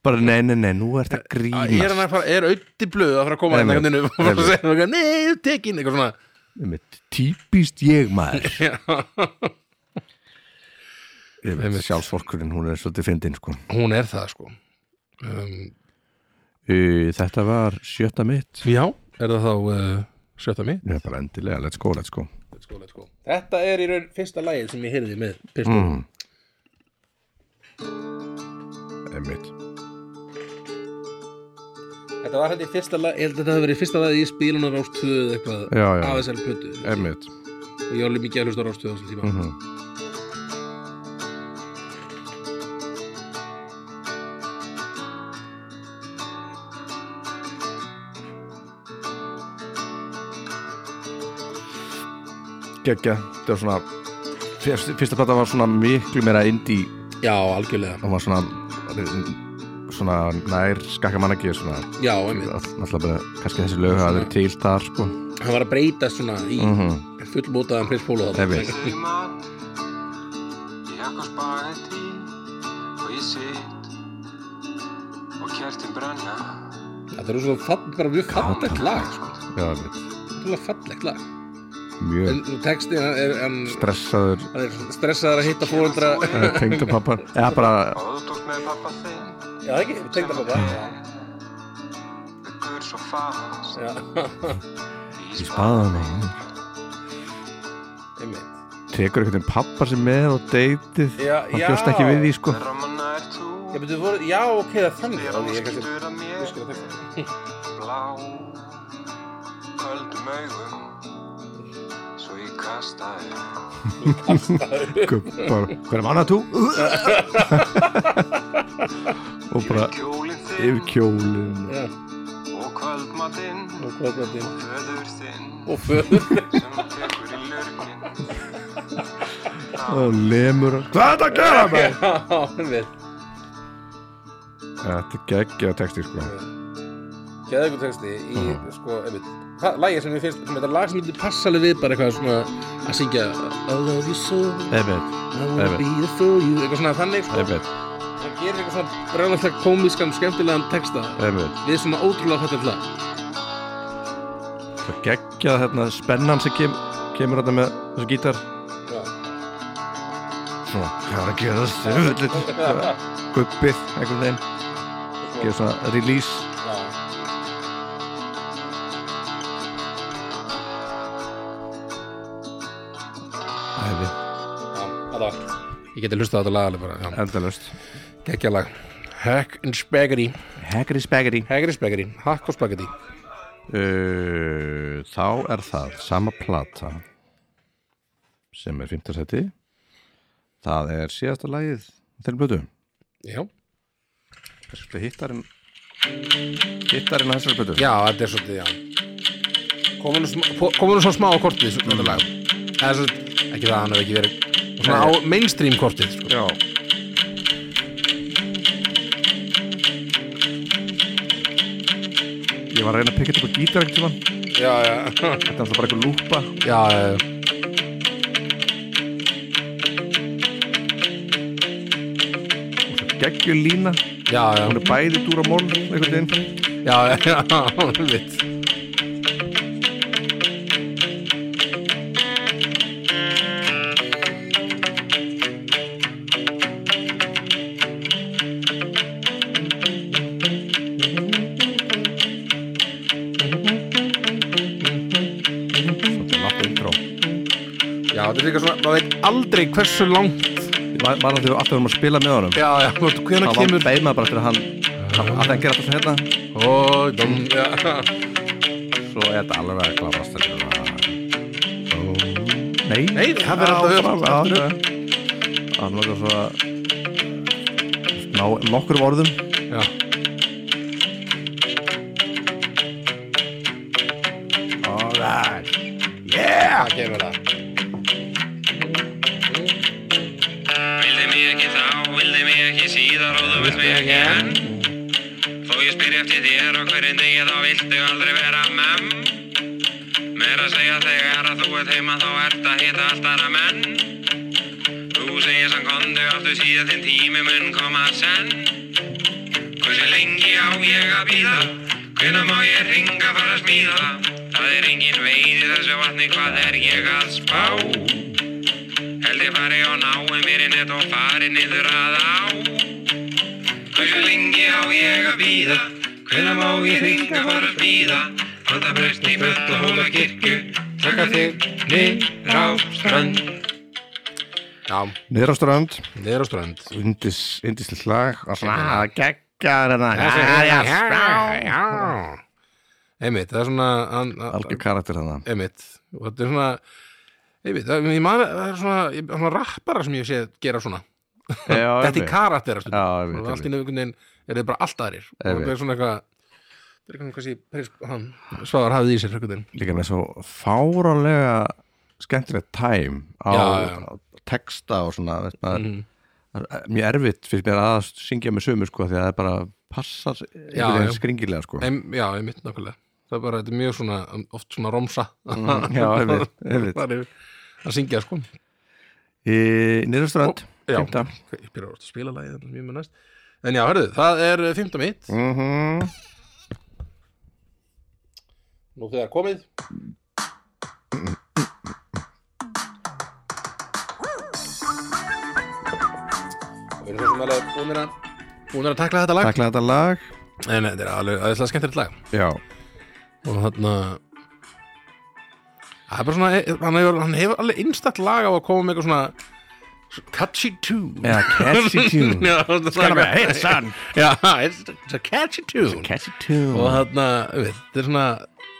A: bara nei, nei, nei, nú er þetta grínast
B: er hann að fara, er auðvitað blöð að fara að koma
A: Einmitt,
B: einhvern veginn upp og fara að segja eitthvað, nei, ég er tekin eitthvað svona
A: einmitt, típist ég maður
B: Já.
A: einmitt, sjálfsvorkurinn, hún er svolítið fyndin sko.
B: hún er það sko um,
A: Í, þetta var sjötta mitt
B: já, er það þá uh, sjötta mig?
A: ég er bara endilega, let's go, let's go
B: Let's go, let's go. Þetta er í raun fyrsta lagið sem ég heyrði með pistol mm.
A: einmitt,
B: Þetta var hætti fyrsta lagið, ég held að þetta hafi verið fyrsta lagið í spilunum ástöðu eitthvað
A: Já, já.
B: af þessari plötu
A: einmitt
B: og ég var alveg mikið að hlusta á rástöðu á þessum tíma
A: Mhm. Gekja, þetta var svona fyrst, Fyrsta plata var svona miklu meira indie
B: já, algjörlega,
A: Hún var svona Svona nær skakkamannagi Svona
B: já, einmitt
A: Alltaf bara kannski þessi lög að vera til þar sko
B: hann var að breyta svona í
A: mm
B: fullmótaðan prins Pólo
A: Einmitt.
D: Frímat Ég hef hvað sparaði tí Og ég sit Og kertin brenna
B: það eru svo fall, bara mjög fallegt lag sko.
A: Já, ég veit
B: það er fallegt lag
A: Mjög
B: en textin hann er, hann,
A: stressaður
B: hann er stressaður að hitta fólundra já,
A: Tengdapappan Eða bara
D: Og þú tókst með pappa þinn
B: ekki, tegna pappa
D: Byggur svo fast
B: já,
A: Í spaðan og
B: einmitt
A: Tekur einhvern veginn pappa sem með og deytið
B: Já,
A: Hann
B: já.
A: bjóst ekki við því sko
D: Ramana er þú
B: já, betur, voru, já ok, það er þannig
D: Þegar
B: já,
D: hann
B: ég kannski-
D: skýtur að
B: ég skil að
D: mér
B: texta.
D: Blá Köldum augum Svo ég kasta upp
A: Gubbar Hver er mannað þú? Og bara
D: Kjólinn
A: yfir
D: þinn
A: kjólin
B: Já,
D: Og kvöldmatinn
B: og kvöldmatinn.
D: Föður þinn
B: og föður
D: sem tekur í lörgin
A: og lemur Hvað er þetta að gera með?
B: já, einmitt
A: Þetta er geggja texti sko
B: Geðveikur texti í,
A: Mhm.
B: sko, einmitt það lagið sem ég finnst, sem þetta lag sem myndi passa alveg við bara eitthvað svona að syngja I love you so,
A: Einmitt,
B: I wanna
A: einmitt.
B: be there for you eitthvað svona þannig, sko
A: einmitt,
B: hann gerir eitthvað svona brjóðlega komískan, skemmtilegan texta
A: einmitt
B: við svona ótrúlega fættið lag
A: Það geggja hérna spennan sem kem, kemur hérna með þessu gítar
B: Já.
A: Svona, hvað er að gera þessu? Gubbið, einhvern veginn Gefa svona release
B: Já.
A: Æfi,
B: Já, þetta var ég geti hlustað á þetta lag alveg bara,
A: endalust
B: já, geggja lag Hack and Spaghetti
A: Haggri Spaggri
B: Hackri Spaghetti, Hack og Spaghetti
A: Uh, þá er það sama plata sem er 15 seti það er síðasta lagið á þeirri blötu
B: Já,
A: kannski hittarinn hittarinn á þessari blötu
B: já þetta er svolítið, já komum nú smá- po- komum nú svo smá á kortið svo- þetta lag eða svo, ekki það, hann hefur ekki verið svona á mainstream kortið sko.
A: já. ég var að reyna að pikka þetta upp á gítar ekkert tíma þetta
B: Já, já
A: er alltaf bara eitthvað lúpa
B: Já, já,
A: geggjur lína,
B: já, já
A: hún er bæði dúra mól einhvern veginn
B: Já, já, já, einmitt
A: þetta er látt intro
B: Já, þetta er líka svona, maður veit aldrei hversu langt
A: maður að þau alltaf erum að spila með honum
B: Já, já, hvernig
A: Það var
B: kemur
A: beimað bara til að hann að það gera þetta svo hérna
B: Ó, dom, já
A: svo er þetta alveg að klarast þetta Nei,
B: Nei, það fer alltaf upp, aftur
A: upp Það er nokkað svo að ná nokkur orðum
B: Já,
A: Alright Yeah
B: það kemur það
C: Vildi mig ekki þá, vildi mig ekki síðar og þú vilt mig ekki enn Þó ég spyr eftir þér og hverjum degi þá viltu aldrei vera memm Meira að segja þegar að þú ert heima þá ert að hitta allt aðra menn Þú segir sem kondu aftur síðan þinn tími mun koma senn Hversu lengi á ég að býða, hvenær má ég ringa fara að smíða Það er engin veið í þessu vatni, hvað er ég að spá? Held ég fari á náum mér inn eitt og fari niður að á Hversu lengi á ég að býða Hvenær má ég ringa bara að býða Handa breyst í fötta hóla kirkju Taka þig niður á strönd
B: Já,
A: Niður á strönd
B: niður á strönd
A: Indis, indisli slag og svona að gegga hérna
B: Einmitt, það er svona hann-
A: Algjör karakter þarna
B: Einmitt, og þetta er svona Ég veit, það ég man- það er svona, ég- svona rappara sem ég sé gera svona
A: Já,
B: Þetta er
A: einmitt.
B: karakter
A: Já, ég veit,
B: Allt í nefnum veginn er þið bara allt aðrir Og
A: Ég veit.
B: það er svona eitthvað Það er eitthvað kannski Peris, hann, Svavar hafði í sér einhvern veginn
A: líka með svo fáralega skemmtilegt tæm á,
B: Já, já.
A: á texta og svona veist, maður, það er mjög erfitt fyrir mér að syngja með sömu sko því að það bara passar
B: Já,
A: einhvern veginn
B: já.
A: skringilega sko
B: Em, Já, ég mitt nákvæmlega Það er bara, þetta er mjög svona, oft svona romsa
A: Mm, já, ég veit, ég veit.
B: Það er að syngja sko
A: í Nýrðuströnd,
B: Já.
A: fymta
B: Ok, Ég byrja að spila lagið þannig sem ég mun næst En já, hörðu, það er fymta mitt
A: mm
B: Nú þegar komið Við erum þessum alveg búinir að búinir að takla þetta lag
A: takla þetta lag
B: Nei, nei, þetta er alveg aðeinslega skemmtilegt lag
A: já,
B: og þarna það er bara svona e, hann hefur, hann hefur alveg innstætt lag á að koma með eitthvað svona catchy tune
A: eða catchy tune
B: Já, það er svona
A: Hey son,
B: Já, it's, it's a catchy tune
A: catchy
B: og
A: tune
B: þarna, við, þetta er svona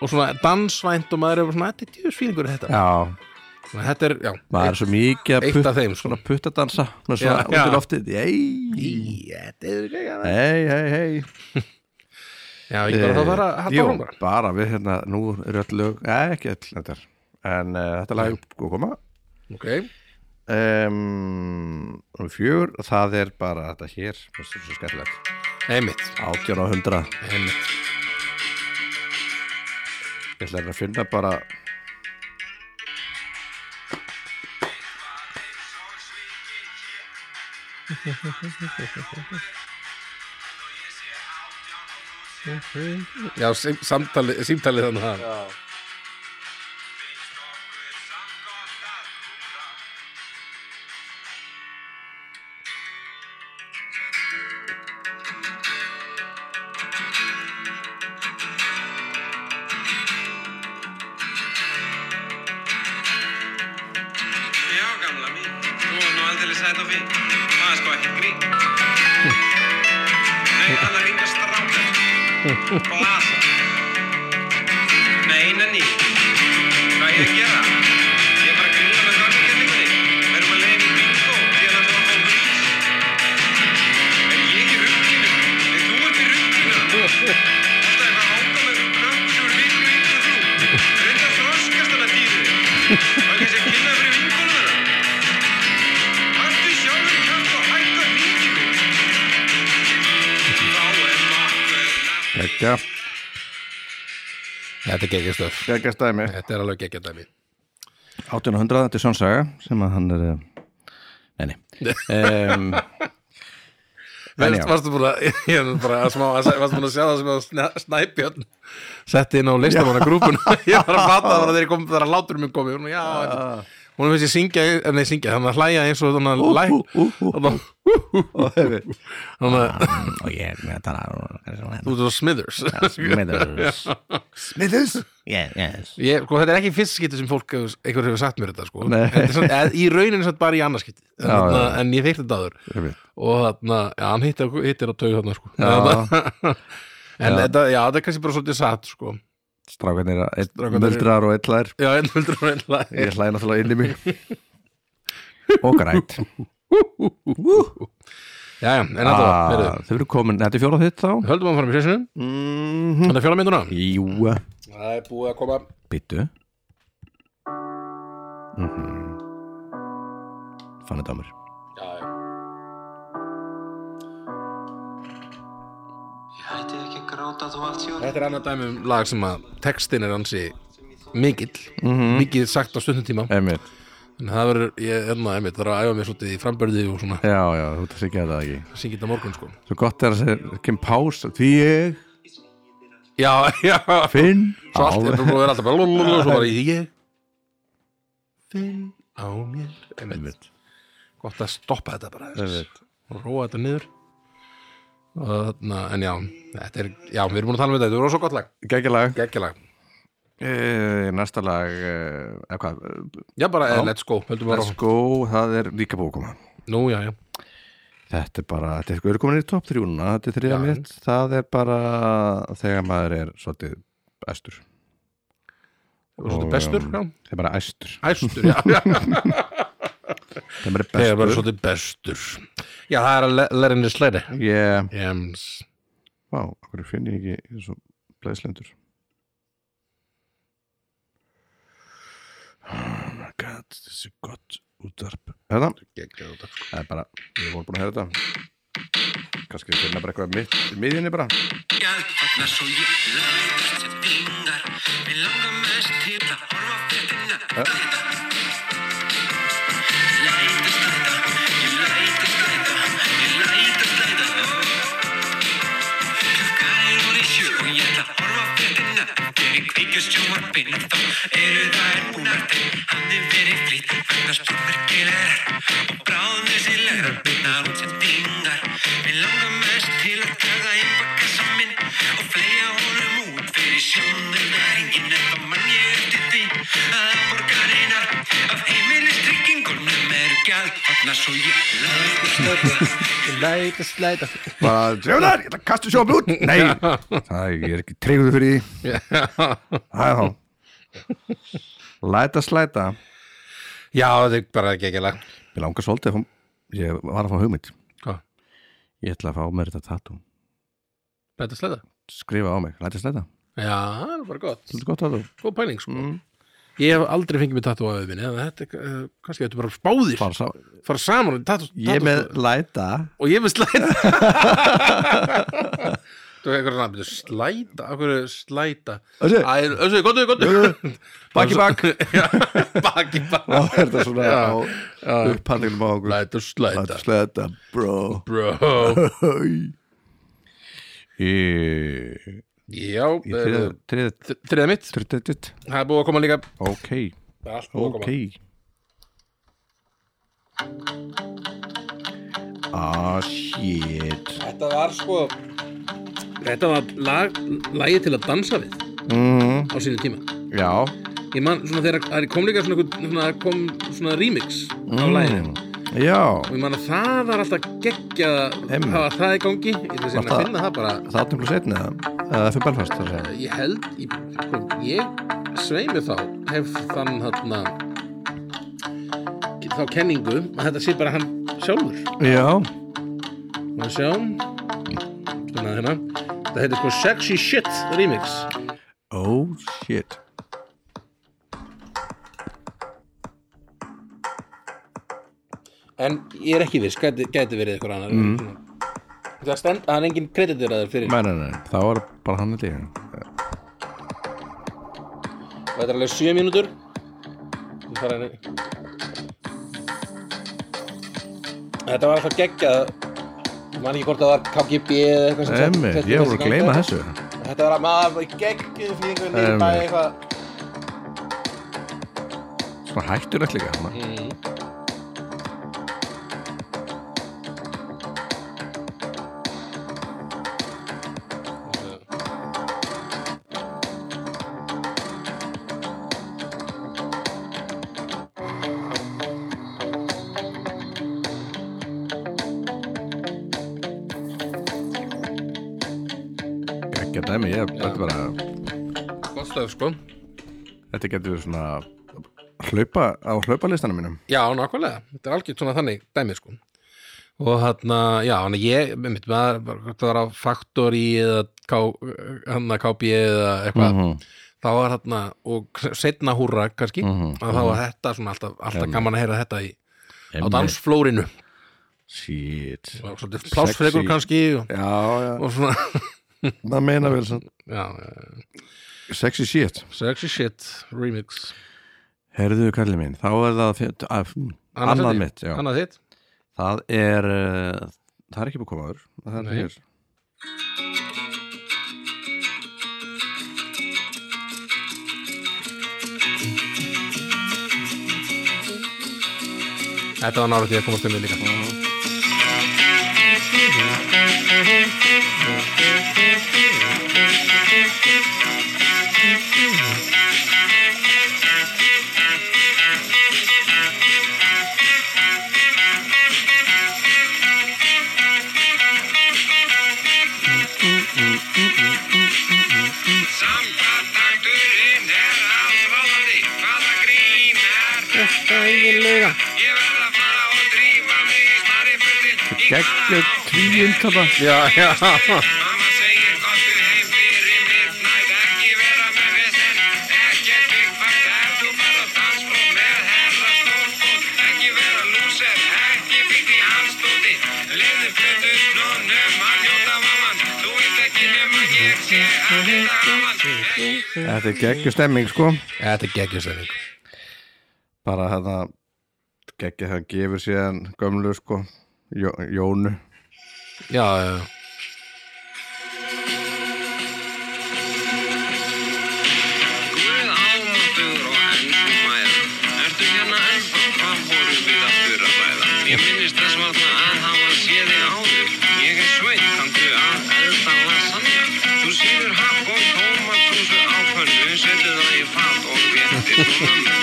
B: og svona dansvænt og maður er bara svona þetta er djúsfílingur þetta
A: já,
B: Svona, þetta er, já,
A: maður er svo mikið að
B: eitt
A: put,
B: af þeim sko.
A: svona puttadansa með
B: Já,
A: svona út í
B: já.
A: loftið
B: Í,
A: hei,
B: þetta er ekki að
A: hei, hei, hei
B: já, ég bara þá bara að
A: Eh, Jú,
B: hatta hún bara
A: bara við hérna, nú eru öll lög eh, ekki öll, þetta er en uh, þetta lag er búið að koma
B: ok,
A: um, fjör, það er bara þetta hér, það er svo skemmtilegt
B: einmitt,
A: 18 á 100,
B: einmitt
A: ég ætla að finna bara
B: já, sí- samtali, símtalið þannig að
C: Já, gamla mín, þú er nú aldrei sæt og fín, maður sko ekki grín. Nei, hann er ringa strákar, blasa. Nei, nenni, hvað ég að gera? Ég er bara að grína með gangkendingunni, við erum að leiða í bingo, því að það er að fá grís. En ég er rugginu, en þú ert í rugginu. Alltaf eitthvað hanga með krökkur sem eru miklu yngri en þú. Reynda að þroskast hana dýrið. Það er kannski að kynna fyrir vinkonum þeirra. Haltu sjálfur kraft og hættu að hringi mig. Þá er maður
A: geggja,
B: þetta er geggjastöf,
A: geggja stæmi
B: þetta er alveg geggjadæmi
A: 18 á 100, þetta er Sjónsaga sem að hann er eh, nei, nei um, en já,
B: varstu búin að ég er bara að smá, að- varstu búin að sjá það sem að Sna- snæbjörn setti inn á listamanna grúpun ég var að fatta það var að þeir komið þar að látur minn komið já,
A: Ah.
B: þetta- hún finnst ég syngja eh, nei syngja, þannig að hlæja eins og þannig að læk þannig
A: og hefur
B: að
A: og ég er með að tala
B: þú ert svo smithers
A: Smithers Smithers? Yeah, yes
B: ég, sko, þetta er ekki fyrst skipti sem fólk hefur, einhver hefur sagt mér þetta sko.
A: Nei.
B: Þetta er svona, eð- í rauninu satt bara í annars skipti en,
A: Já,
B: þarna,
A: já.
B: en ég fekk þetta aður
A: Einmitt.
B: og þarna, já, hann hittir, hittir á taug þarna sko.
A: Já.
B: en
A: Já.
B: þetta, já, þetta er kannski bara svolítið satt sko.
A: Strákarnir að- einn
B: Strákarnir-
A: muldrar og eitthvað
B: já, en hundur og einlega
A: Ég hlæði náttúrulega inn í mig Og grænt
B: Já, já, en þetta var,
A: Ah,
B: verðu
A: Þau eru komin, þetta er fjórað þitt þá?
B: Höldum að fara með sessinu,
A: Mhm.
B: þetta er fjólamynduna
A: Jú,
B: Það er búið að koma
A: byttu Mhm. Fann þetta á mér
B: Já, já,
D: Ég hætti ekki að gráta þú allt sér
B: þetta er annað dæmi um lag sem að textin er hansi mikill
A: Mhm.
B: mikið sagt á stundum tíma
A: Emmitt,
B: en það verður, ég er náða, einmitt, þarf að æfa mér svolítið í frambörði og svona,
A: já, já, þú ert að segja þetta ekki
B: syngið þetta á morgun sko
A: Svo gott er að segja, kem pás Því ég
B: Já, já,
A: finn
B: svo allt er
A: alveg-
B: bara búið að vera alltaf bara lululul og svo bara ég finn á mér einmitt,
A: Einmitt.
B: gott að stoppa þetta bara aðeins.
A: Einmitt.
B: og róa þetta niður og þarna, en já þetta er, já, við erum búin að tala um þetta, þetta er svo gott lag
A: Gækjalag
B: geggjalag
A: Eh, Næsta lag, eh, eða hvað, eh,
B: Já, bara
A: Já.
B: eh, let's go, höldum bara
A: Let's
B: áfram.
A: Go, það er líka búið að koma
B: Nú, já, já
A: Þetta er bara, þetta er sko, við erum komin í top 3 núna, þetta er þriða
B: Já.
A: mitt, það er bara þegar maður er svolítið estur
B: og svolítið
A: Og,
B: bestur, já,
A: um, þegar maður er æstur
B: æstur já, já,
A: þegar maður er
B: þegar bara
A: bestur
B: svolítið bestur já, það er að læra henni slæri
A: yeah.
B: Jems.
A: Vá, okkur finn ég ekki eins og blæðslendur Oh my god, þessi gott útvarp Hérna,
B: Geggjað þetta.
A: það er bara, ég voru búin að heyra þetta Kannski við finna bara eitthvað mitt, í miðjunni bara
D: Gjaldfalla svo ég læðist sem pingar Mér langar mest til að horfa á fréttina Læðist þetta, ég læðist þetta, ég læðist þetta Klukkan er úr í sjö og ég ætla að horfa á fréttina Þegar ég kveikju sjónvarpinu þá eru þær búnar til Hafði verið flýtt vegna stórmerkilegar Og bráðum þessi legra bitnar út sem pingar Mér langar mest til að draga inn bakkassa minn og fleja honum út fyrir sjónu næringin en þá mann ég eftir því að það borgar einar af heimilistryggingunum eru gjaldfallna svo ég læðist þetta
A: Bara, djöfnar, ég ætla að kasta sjóðum út Nei, það er, ég er ekki treyður fyrir því Það er þá Læta slæta
B: já, þetta er bara geggjala
A: Mér langar svolítið, að fá- ég var að fá hugmynd
B: hvað,
A: Ég ætla að fá mér þetta tattoo
B: þetta slæta Mm.
A: Skrifa á mig, læta slæta
B: já, það er bara gott,
A: Svolítið gott tattoo
B: góð pæling sko. ég hef aldrei fengið mér tattu á öfinni en þetta, er, eh, kannski þetta er bara spáðir
A: Bara sá,
B: fara saman og tattu,
A: Ég er með læta
B: og ég með slæta þú hefur eitthvað svona slæta, af hverju slæta
A: Þessi?
B: Æ, Össu, gottu, gottu
A: Bak í bak.
B: Já, bak í bak
A: Þá er þetta svona
B: Já,
A: á
B: já.
A: upphandlinum á okkur
B: Læta,
A: Læta
B: slæta,
A: slæta, bro
B: bro
A: Í
B: Já,
A: í þriða- þriða-
B: þriða mitt
A: þriða- þriða-
B: Það er búið að koma líka
A: Ok,
B: Það er allt búið að
A: ok
B: koma
A: Ah shit
B: Þetta var sko Þetta var lag, lagið til að dansa við
A: mm,
B: á sínu tíma
A: Já,
B: Ég man svona þegar það kom líka svona, einhver- svona, það kom svona remix á
A: Mm.
B: laginu
A: já
B: og ég man að það var alltaf geggjað að
A: Einmitt.
B: hafa það í gangi ég ætla að
A: Var
B: segja að
A: það-
B: finna það bara
A: Það er mjög setna Það fyrir Belfast þar að segja.
B: ég held ég, sko, ég sveimi þá hef þann þarna þá kenningu að þetta sé bara hann sjálfur
A: Já,
B: og að sjá svona hérna þetta heitir sko Sexy Shit Remix
A: oh shit
B: en ég er ekki viss, gæti, gæti verið eitthvað annar mm. það stend, það er engin kreditur að það fyrir
A: Nei, nei, nei, það var bara hann í líka
B: og þetta er alveg 7 mínútur Þú fara henni Þetta var alltaf geggjað ég man ekki hvort það var KGB eða eitthvað sem sett-
A: Emmi,
B: setti
A: ég voru að
B: í gang.
A: gleyma þessu
B: Þetta var að maður geggjuð fyrir einhvern
A: Einmitt.
B: nýrbæ eitthvað
A: Svona hættulegt líka svona. Ekki að dæmi, ég þetta er bara
B: Gott stöð sko
A: Þetta getur verið svona hlaupa á hlaupalistanum mínum
B: Já, nákvæmlega, þetta er algjört svona þannig dæmið sko og hann já, hann ég, mitt maður var- hvort það var á Factory eða hann að KB eða eitthvað
A: Mhm.
B: þá var hann og setna húra kannski,
A: Mhm.
B: að þá var þetta svona alltaf, alltaf gaman að heyra þetta í, á dansflórinu
A: Shit
B: Og svolítið plásfrekur
A: Sexy.
B: kannski og,
A: Já, já,
B: og svona,
A: það meina vel svona.
B: já, já,
A: Sexy shit
B: sexy shit remix,
A: Herðu kallið minn, þá er það fjö- að,
B: Annað
A: annað
B: sæti?
A: mitt já.
B: annað þitt
A: Það er uh, það er ekki búið að koma aður það er
B: Nei.
A: hér
B: Þetta var nálægt ég að komast um mig líka
A: Mhm.
C: Samkvæmt takturinn er að ráða
A: geggjöð tvíund þarna
B: já, já,
C: Mamma segir gottu heim fyrir midnight Ekki vera með vesen Ekkert byggfart ef þú bara dansflóð Með herra stórfóð Ekki vera lúser Ekki byggt í halsdóti Leðu fletu snónum að hljóta vaman Þú veit ekki nema ég sé að þetta vaman
A: Þetta er geggjöð stemming sko
B: þetta er geggjastæðning
A: bara hérna geggjöð það gefur síðan gömlu sko Jó, Jónu
B: já, já, já
C: Guð ámáttur og ennum mæða Ertu hérna ennþá, hvað vorum við aftur að ræða? Ég minnist þess varna að hafa séð þig áður Ég er sveit, kanntu að elda lasagna Þú sýður happ og tómatúsu á pönnu Setu það í fat og réttir og mamma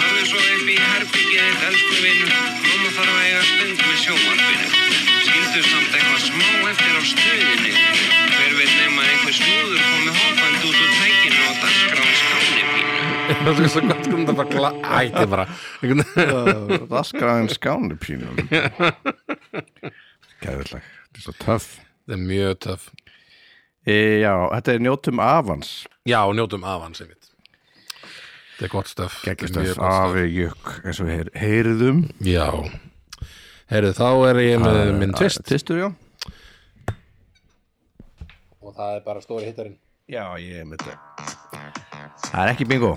C: Farðu svo upp í herbyggið þitt, elsku vinur Mamma þarf að eiga stund með sjómarfinu Skildu samt eitthvað smá eftir á stuðinni Hver veit nema einhver snúður komi hoppand út úr tækinu og dasgráðan skáni pínu
B: það er svo gott um þetta bara gla- Æ, þetta er bara einhvern veginn-
A: Raskaðan skáni pínu Gæðurlag Þetta er svo töff
B: þetta er mjög töff
A: e, Já, þetta er njótum avans
B: já, og njótum af hans einmitt þetta er gott stöf
A: Geggjastöf afi jökk eins og við heyr, heyrðum
B: já Heyrðu, þá er ég með minn tvist
A: Tvistur, já
B: og það er bara stóri hittarinn
A: Já, ég er með þetta Það er ekki bingo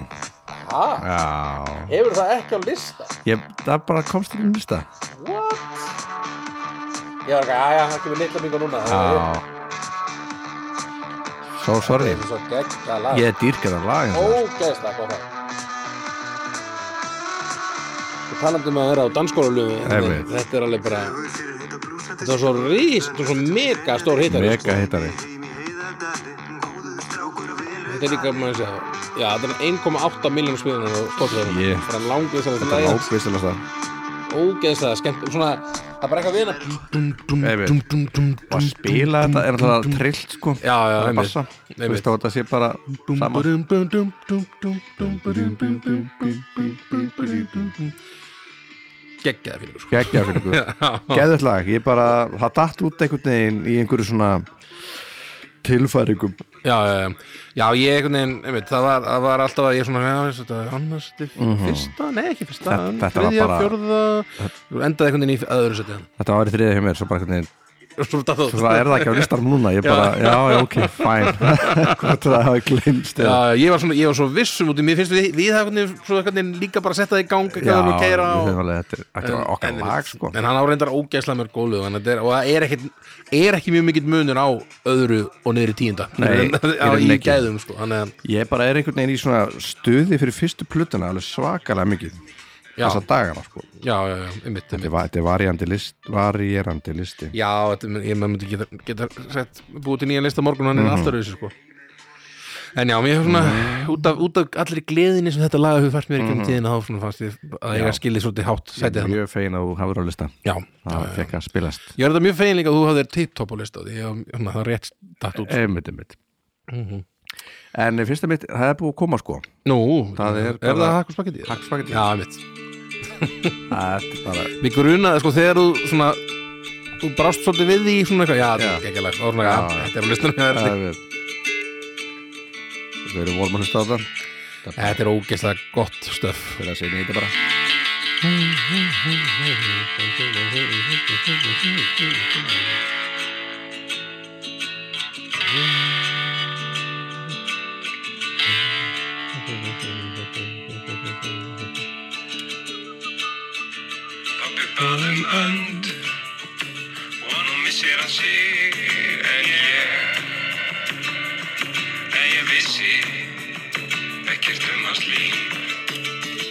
B: ha?
A: Já
B: hefur það ekki á lista?
A: ég, Það bara komst ekki um lista
B: what? ég var ekki, aðja, það kemur litla mingur núna
A: Já Svo sorry
B: svo geggja lag
A: Ég er dýrkjæðan lag hérna. eins og það.
B: ógeðslega gott lag Þú talandi um að vera á dansskólalöfu
A: Einmitt.
B: þetta er alveg bara þetta var svo rís, þetta var svo mega stór hitari
A: Mega hittari
B: þetta er líka, maður sé það já, þetta er 1,8 miljón smiðunar og stóðlega
A: Yeah.
B: þetta er langið sem
A: Þetta
B: þetta
A: er
B: lag
A: óbvissilast það
B: ógeðslega skemmt, svona, það er bara eitthvað við hana
A: Einmitt. Og að spila þetta er alltaf trillt sko
B: Já, já,
A: Það er
B: einmitt.
A: bassa Þú
B: Einmitt.
A: veist að þetta sé bara saman
B: geggjaði fyrir sko.
A: Gekkja fyrir ykkur Geðvægt lag, ég bara Það datt út einhvern veginn í einhverju svona Tilfæringum
B: já, já, já, já, ég einhvern veginn einmitt, það, var, það var alltaf að ég svona já, veist, þetta er annars, þetta er fyrsta, nei ekki fyrsta
A: Mhm. Þetta-
B: en
A: þetta var
B: þriðja,
A: bara-
B: fjórða, þú endaði einhvern veginn í öðru setja
A: Þetta var í þriðið hjá mér Svo bara einhvern veginn
B: svo datt það
A: Svo það er það ekki á listanum núna Ég bara, já, já, ok, fæn Hvort það hafi glimst eða
B: Já, ég var, svona, ég var svo vissum út í mér finnst við, við hafum einhvern veginn- svo einhvern veginn líka bara sett það í gang
A: Já,
B: eitthvað og
A: ég
B: keira og,
A: hef alveg Þetta er- þetta var okkar lag sko
B: en hann áreindar ógeðslega mörg gólu en þetta er, og það er ekki, er ekki mjög mikill munur á öðru og niður í tíunda
A: Nei,
B: á,
A: í
B: í
A: rauninni ekki.
B: gæðum sko, þannig að
A: Ég bara er einhvern veginn í svona stuði fyrir fyrstu plötuna Alveg svakalega mikið
B: Já.
A: Þessa dagana sko
B: já, já, já, einmitt,
A: Þetta
B: einmitt.
A: er va- þetta er varjandi list, varierandi listi
B: já, þetta, er- ég maður myndi geta, geta sett, búið til nýjan lista á morgun hann
A: Mhm.
B: er alltaf rauðsir sko en já, mér hefur svona, út, af, út af allir gleðinni sem þetta laga hefur fært mér í kjöfum tíðina þá svona fannst ég að ég skilið svolítið hátt sætið hann,
A: Mhm. Mjög fegin að þú hafur á lista
B: já, já,
A: Það
B: já
A: fekk að spilast
B: ég er þetta mjög fegin líka að þú hafðir tipptopp á lista því ég, svona, það er rétt dætt út
A: Einmitt, einmitt Mhm. En fyrsta mitt, það er búið að koma sko
B: nú,
A: Það er
B: er,
A: bara-
B: það hakk og spagetti?
A: Hakk spagetti.
B: já, mitt
A: Það er bara
B: Mér grunaði sko þegar þú svona þú brást svolítið við því svona eitthvað já, þetta
A: Já.
B: er ekki alveg, þá var svona já,
A: Já, já.
B: þetta er á listanum hjá þér.
A: Það er við Við erum vorum að hlusta á það
B: Þetta er ógeðslega gott stöf
A: Fyrir að segja þetta bara
C: Pappi bað um önd Og nú missir hann sig En ég En ég vissi Ekkert um hans líf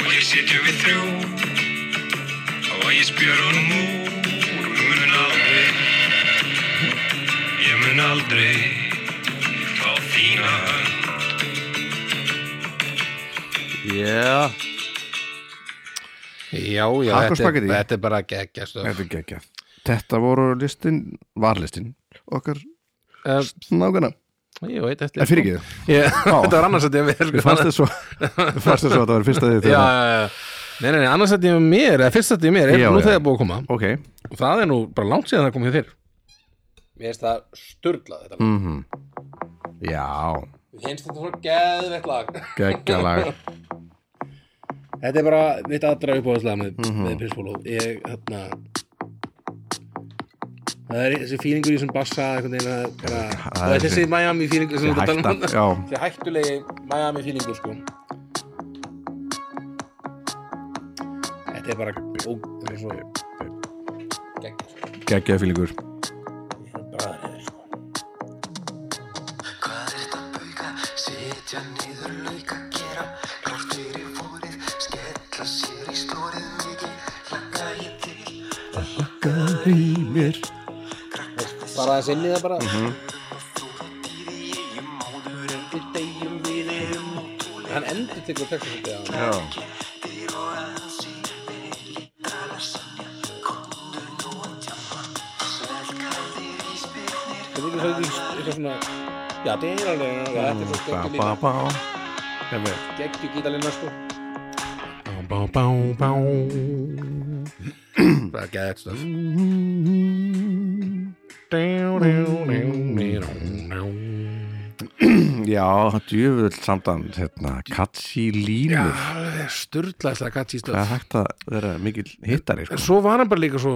C: Og hér sitjum við þrjú Og ég spjör honum úr Við munum aldrei Ég mun aldrei Fá þína önd
A: Yeah.
B: Já, já,
A: Hakk og
B: þetta er,
A: spagetti.
B: þetta er bara geggja stöf
A: Þetta er geggjað Þetta voru listin, varlistin okkar
B: uh,
A: nákvæmna
B: ég veit eftir
A: En fyrir ekki þið,
B: Ég- Þetta var annars að ég mér
A: mér fannst þið svo Mér fannst þið svo að það var fyrsta þið
B: Já, já, já. Nei, nei, nei, annars að ég mér, eða fyrst að ég mér er
A: Já,
B: nú
A: já.
B: þegar búið að koma
A: Ok
B: og það er nú bara langt síðan það kom hjá þér Mér finnst það sturglað þetta lag
A: mm Já,
B: Mér finnst þetta svona geðveitt lag
A: geggjalag
B: Þetta er bara mitt aðra uppáðslega með, mm
A: Mhm.
B: -hmm. með Pissbólu Ég, hérna Það er þessi fílingur í þessum bassa einhvern veginn að bara,
A: það
B: og
A: er
B: þetta er þessi Miami fílingur sem
A: Ég
B: við
A: hætta,
B: talum
A: já
B: um. Þessi hættulegi Miami fílingur sko Þetta er bara ó, þetta er svo geggjað sko.
A: Geggjaði fílingur
B: Ég er bara aðrið sko
D: Hvað er þetta bauka? Sitja niður lauka gera Klárt fyrir vorið Skella sér í stórið mikið Lakka ég til Það lakka í mér Krakkarnir
B: Bara aðeins inn í það bara
D: stöðum og þú það dýri ég um áður en við deyjum við erum og tóli
B: Hann endur tegur textu svolítið á
A: Já,
D: Dyr og aðeins í við lítar að sannja Kondur nú að tjama Svelka þér í spyrnir
B: Þetta er líka svolítið eitthvað svona Já, þetta er alveg já, Þetta er svo
A: ba
B: geggjulína
A: ba ba Ég veit
B: geggju gítalina sko Það er gæðið stöf
A: Já, djöfull samdan hérna, Katsi
B: Já,
A: línur
B: það er sturðlæslega gæðið
A: Það er
B: stöf
A: hægt að vera mikill hittari
B: En
A: sko.
B: svo var hann bara líka svo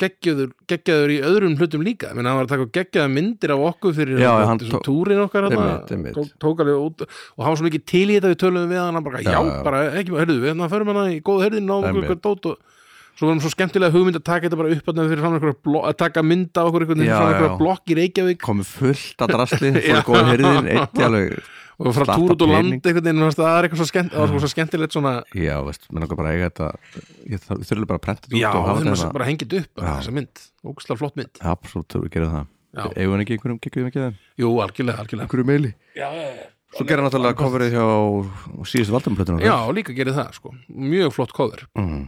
B: geggjöður, geggjöður í öðrum hlutum líka menn hann var að taka geggjöða myndir af okkur fyrir
A: Já,
B: hann,
A: hann
B: þessum
A: tó-
B: túrin okkar hann,
A: Einmitt, einmitt.
B: Tók, tók alveg út og hann var svo mikið til í þetta við töluðum við hann hann bara, já,
A: Já, já.
B: bara ekki, hörðu við hann förum hann í góða hörðin og okkur
A: Einmitt.
B: eitthvað dót og svo var hann svo skemmtilega hugmynd að taka þetta bara upp þarna fyrir fram einhverja blo- að taka mynda okkur einhvern veginn
A: Já,
B: frá einhverja
A: já.
B: blokk í Reykjavík
A: komið fullt að drasli fór góð herðin, eitt í alveg
B: og frá
A: Slatta
B: túr út og
A: pening.
B: landi einhvern veginn og það er eitthvað svo, skemmt, það var svo skemmtilegt svona
A: Já, veist, menn okkur bara eiga þetta ég þarf þurfum bara að prenta þetta
B: já,
A: út og hafa
B: þurfum að
A: þetta
B: bara hengið upp bara,
A: Já.
B: þessa mynd, ógustlega flott mynd
A: Absolutt, þurfum að gera
B: Já.
A: það Eigum við ekki einhverjum, geggum við ekki það
B: jú, algjörlega, algjörlega
A: Einhverjum meili
B: já, já, já.
A: Svo gera náttúrulega coverið hjá síðustu valdumplötunum
B: Já, og líka gerir það sko Mjög flott cover,
A: mm.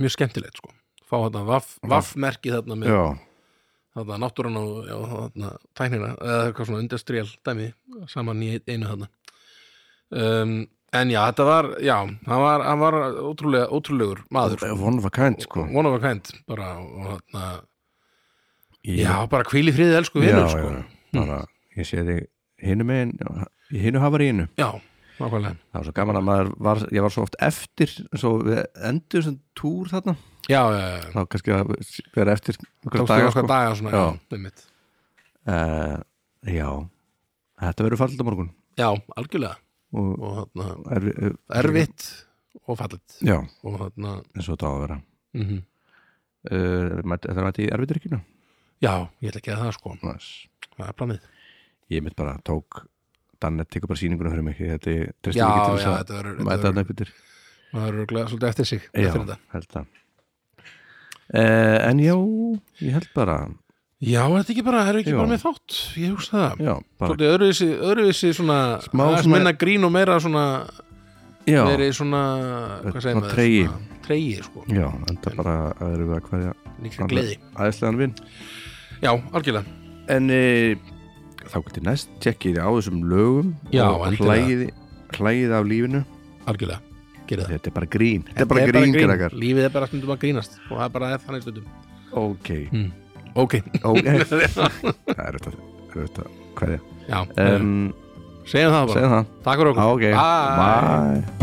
B: mjög skemmtilegt sko Fá þarna vaff, vaffmerki þarna með
A: Já,
B: þarna náttúran og já, þarna tæknina eða eitthvað svona industrial dæmi saman í ein- einu þarna um, En já, þetta var, já, hann var, hann var ótrúlega, ótrúlegur maður sko.
A: one of a kind sko
B: One of a kind, bara og, þarna,
A: Ég-
B: Já, bara hvíl í friði elsku
A: já,
B: vinur
A: já,
B: sko
A: bara, Ég sé þig hinu megin í hinu hafari hinu
B: Já, nákvæmlega
A: Það var svo gaman að maður var, ég var svo oft eftir svo við endur sem túr þarna
B: Já, já, já,
A: þá kannski að vera eftir einhverja
B: tókstu
A: daga,
B: okkar daga svona,
A: Já.
B: sko. já, einmitt
A: Eh, Já, þetta verður fallit á morgun
B: Já, algjörlega
A: og
B: og þarna,
A: er, eh, er,
B: erfitt og fallit
A: Já,
B: og þarna
A: eins og þetta á að vera
B: mm
A: Mhm. Uh, mætti- Þetta er mætti í erfiðurkinu
B: Já, ég ætla ekki að það sko
A: nice.
B: Það er planið
A: Ég mitt bara tók Dannet tekur bara sýninguna fyrir mig Ég- Þetta er
B: Já,
A: tristum ekki til
B: já,
A: þess
B: þetta verður
A: að mæta
B: þetta verður-
A: þarna einhverjir
B: maður er örugglega svolítið eftir sig
A: Já,
B: eftir þetta.
A: held það uh, En já, ég held bara
B: Já, er þetta ekki bara, er ekki
A: Já.
B: bara með þátt Ég hugsa það
A: Já, bara
B: Svolítið öðruvísi, öðruvísi svona
A: Smá
B: aðeins
A: svona-
B: minna grín og meira svona
A: já,
B: meiri svona, hvað segir
A: Svona
B: maður
A: tregi.
B: svona Tregi, sko,
A: já, enda bara að erum við að hverja
B: líka gleði
A: Æðislegan vinn
B: Já, algjörlega
A: En e, þá getur næst tjekkið á þessum lögum
B: Já,
A: og
B: endilega.
A: hlægið, hlægið af lífinu
B: Algjörlega, gerið það
A: Þetta er bara grín Þetta er bara grín, grín. krakkar
B: Lífið er bara stundum að grínast og það er bara þannig stundum
A: Ok,
B: Mm. Ok,
A: ok Það er þetta, er þetta hverja um,
B: já, Ehm, segjum það bara
A: Segðu það
B: Takk fyrir okkur
A: Ok, bye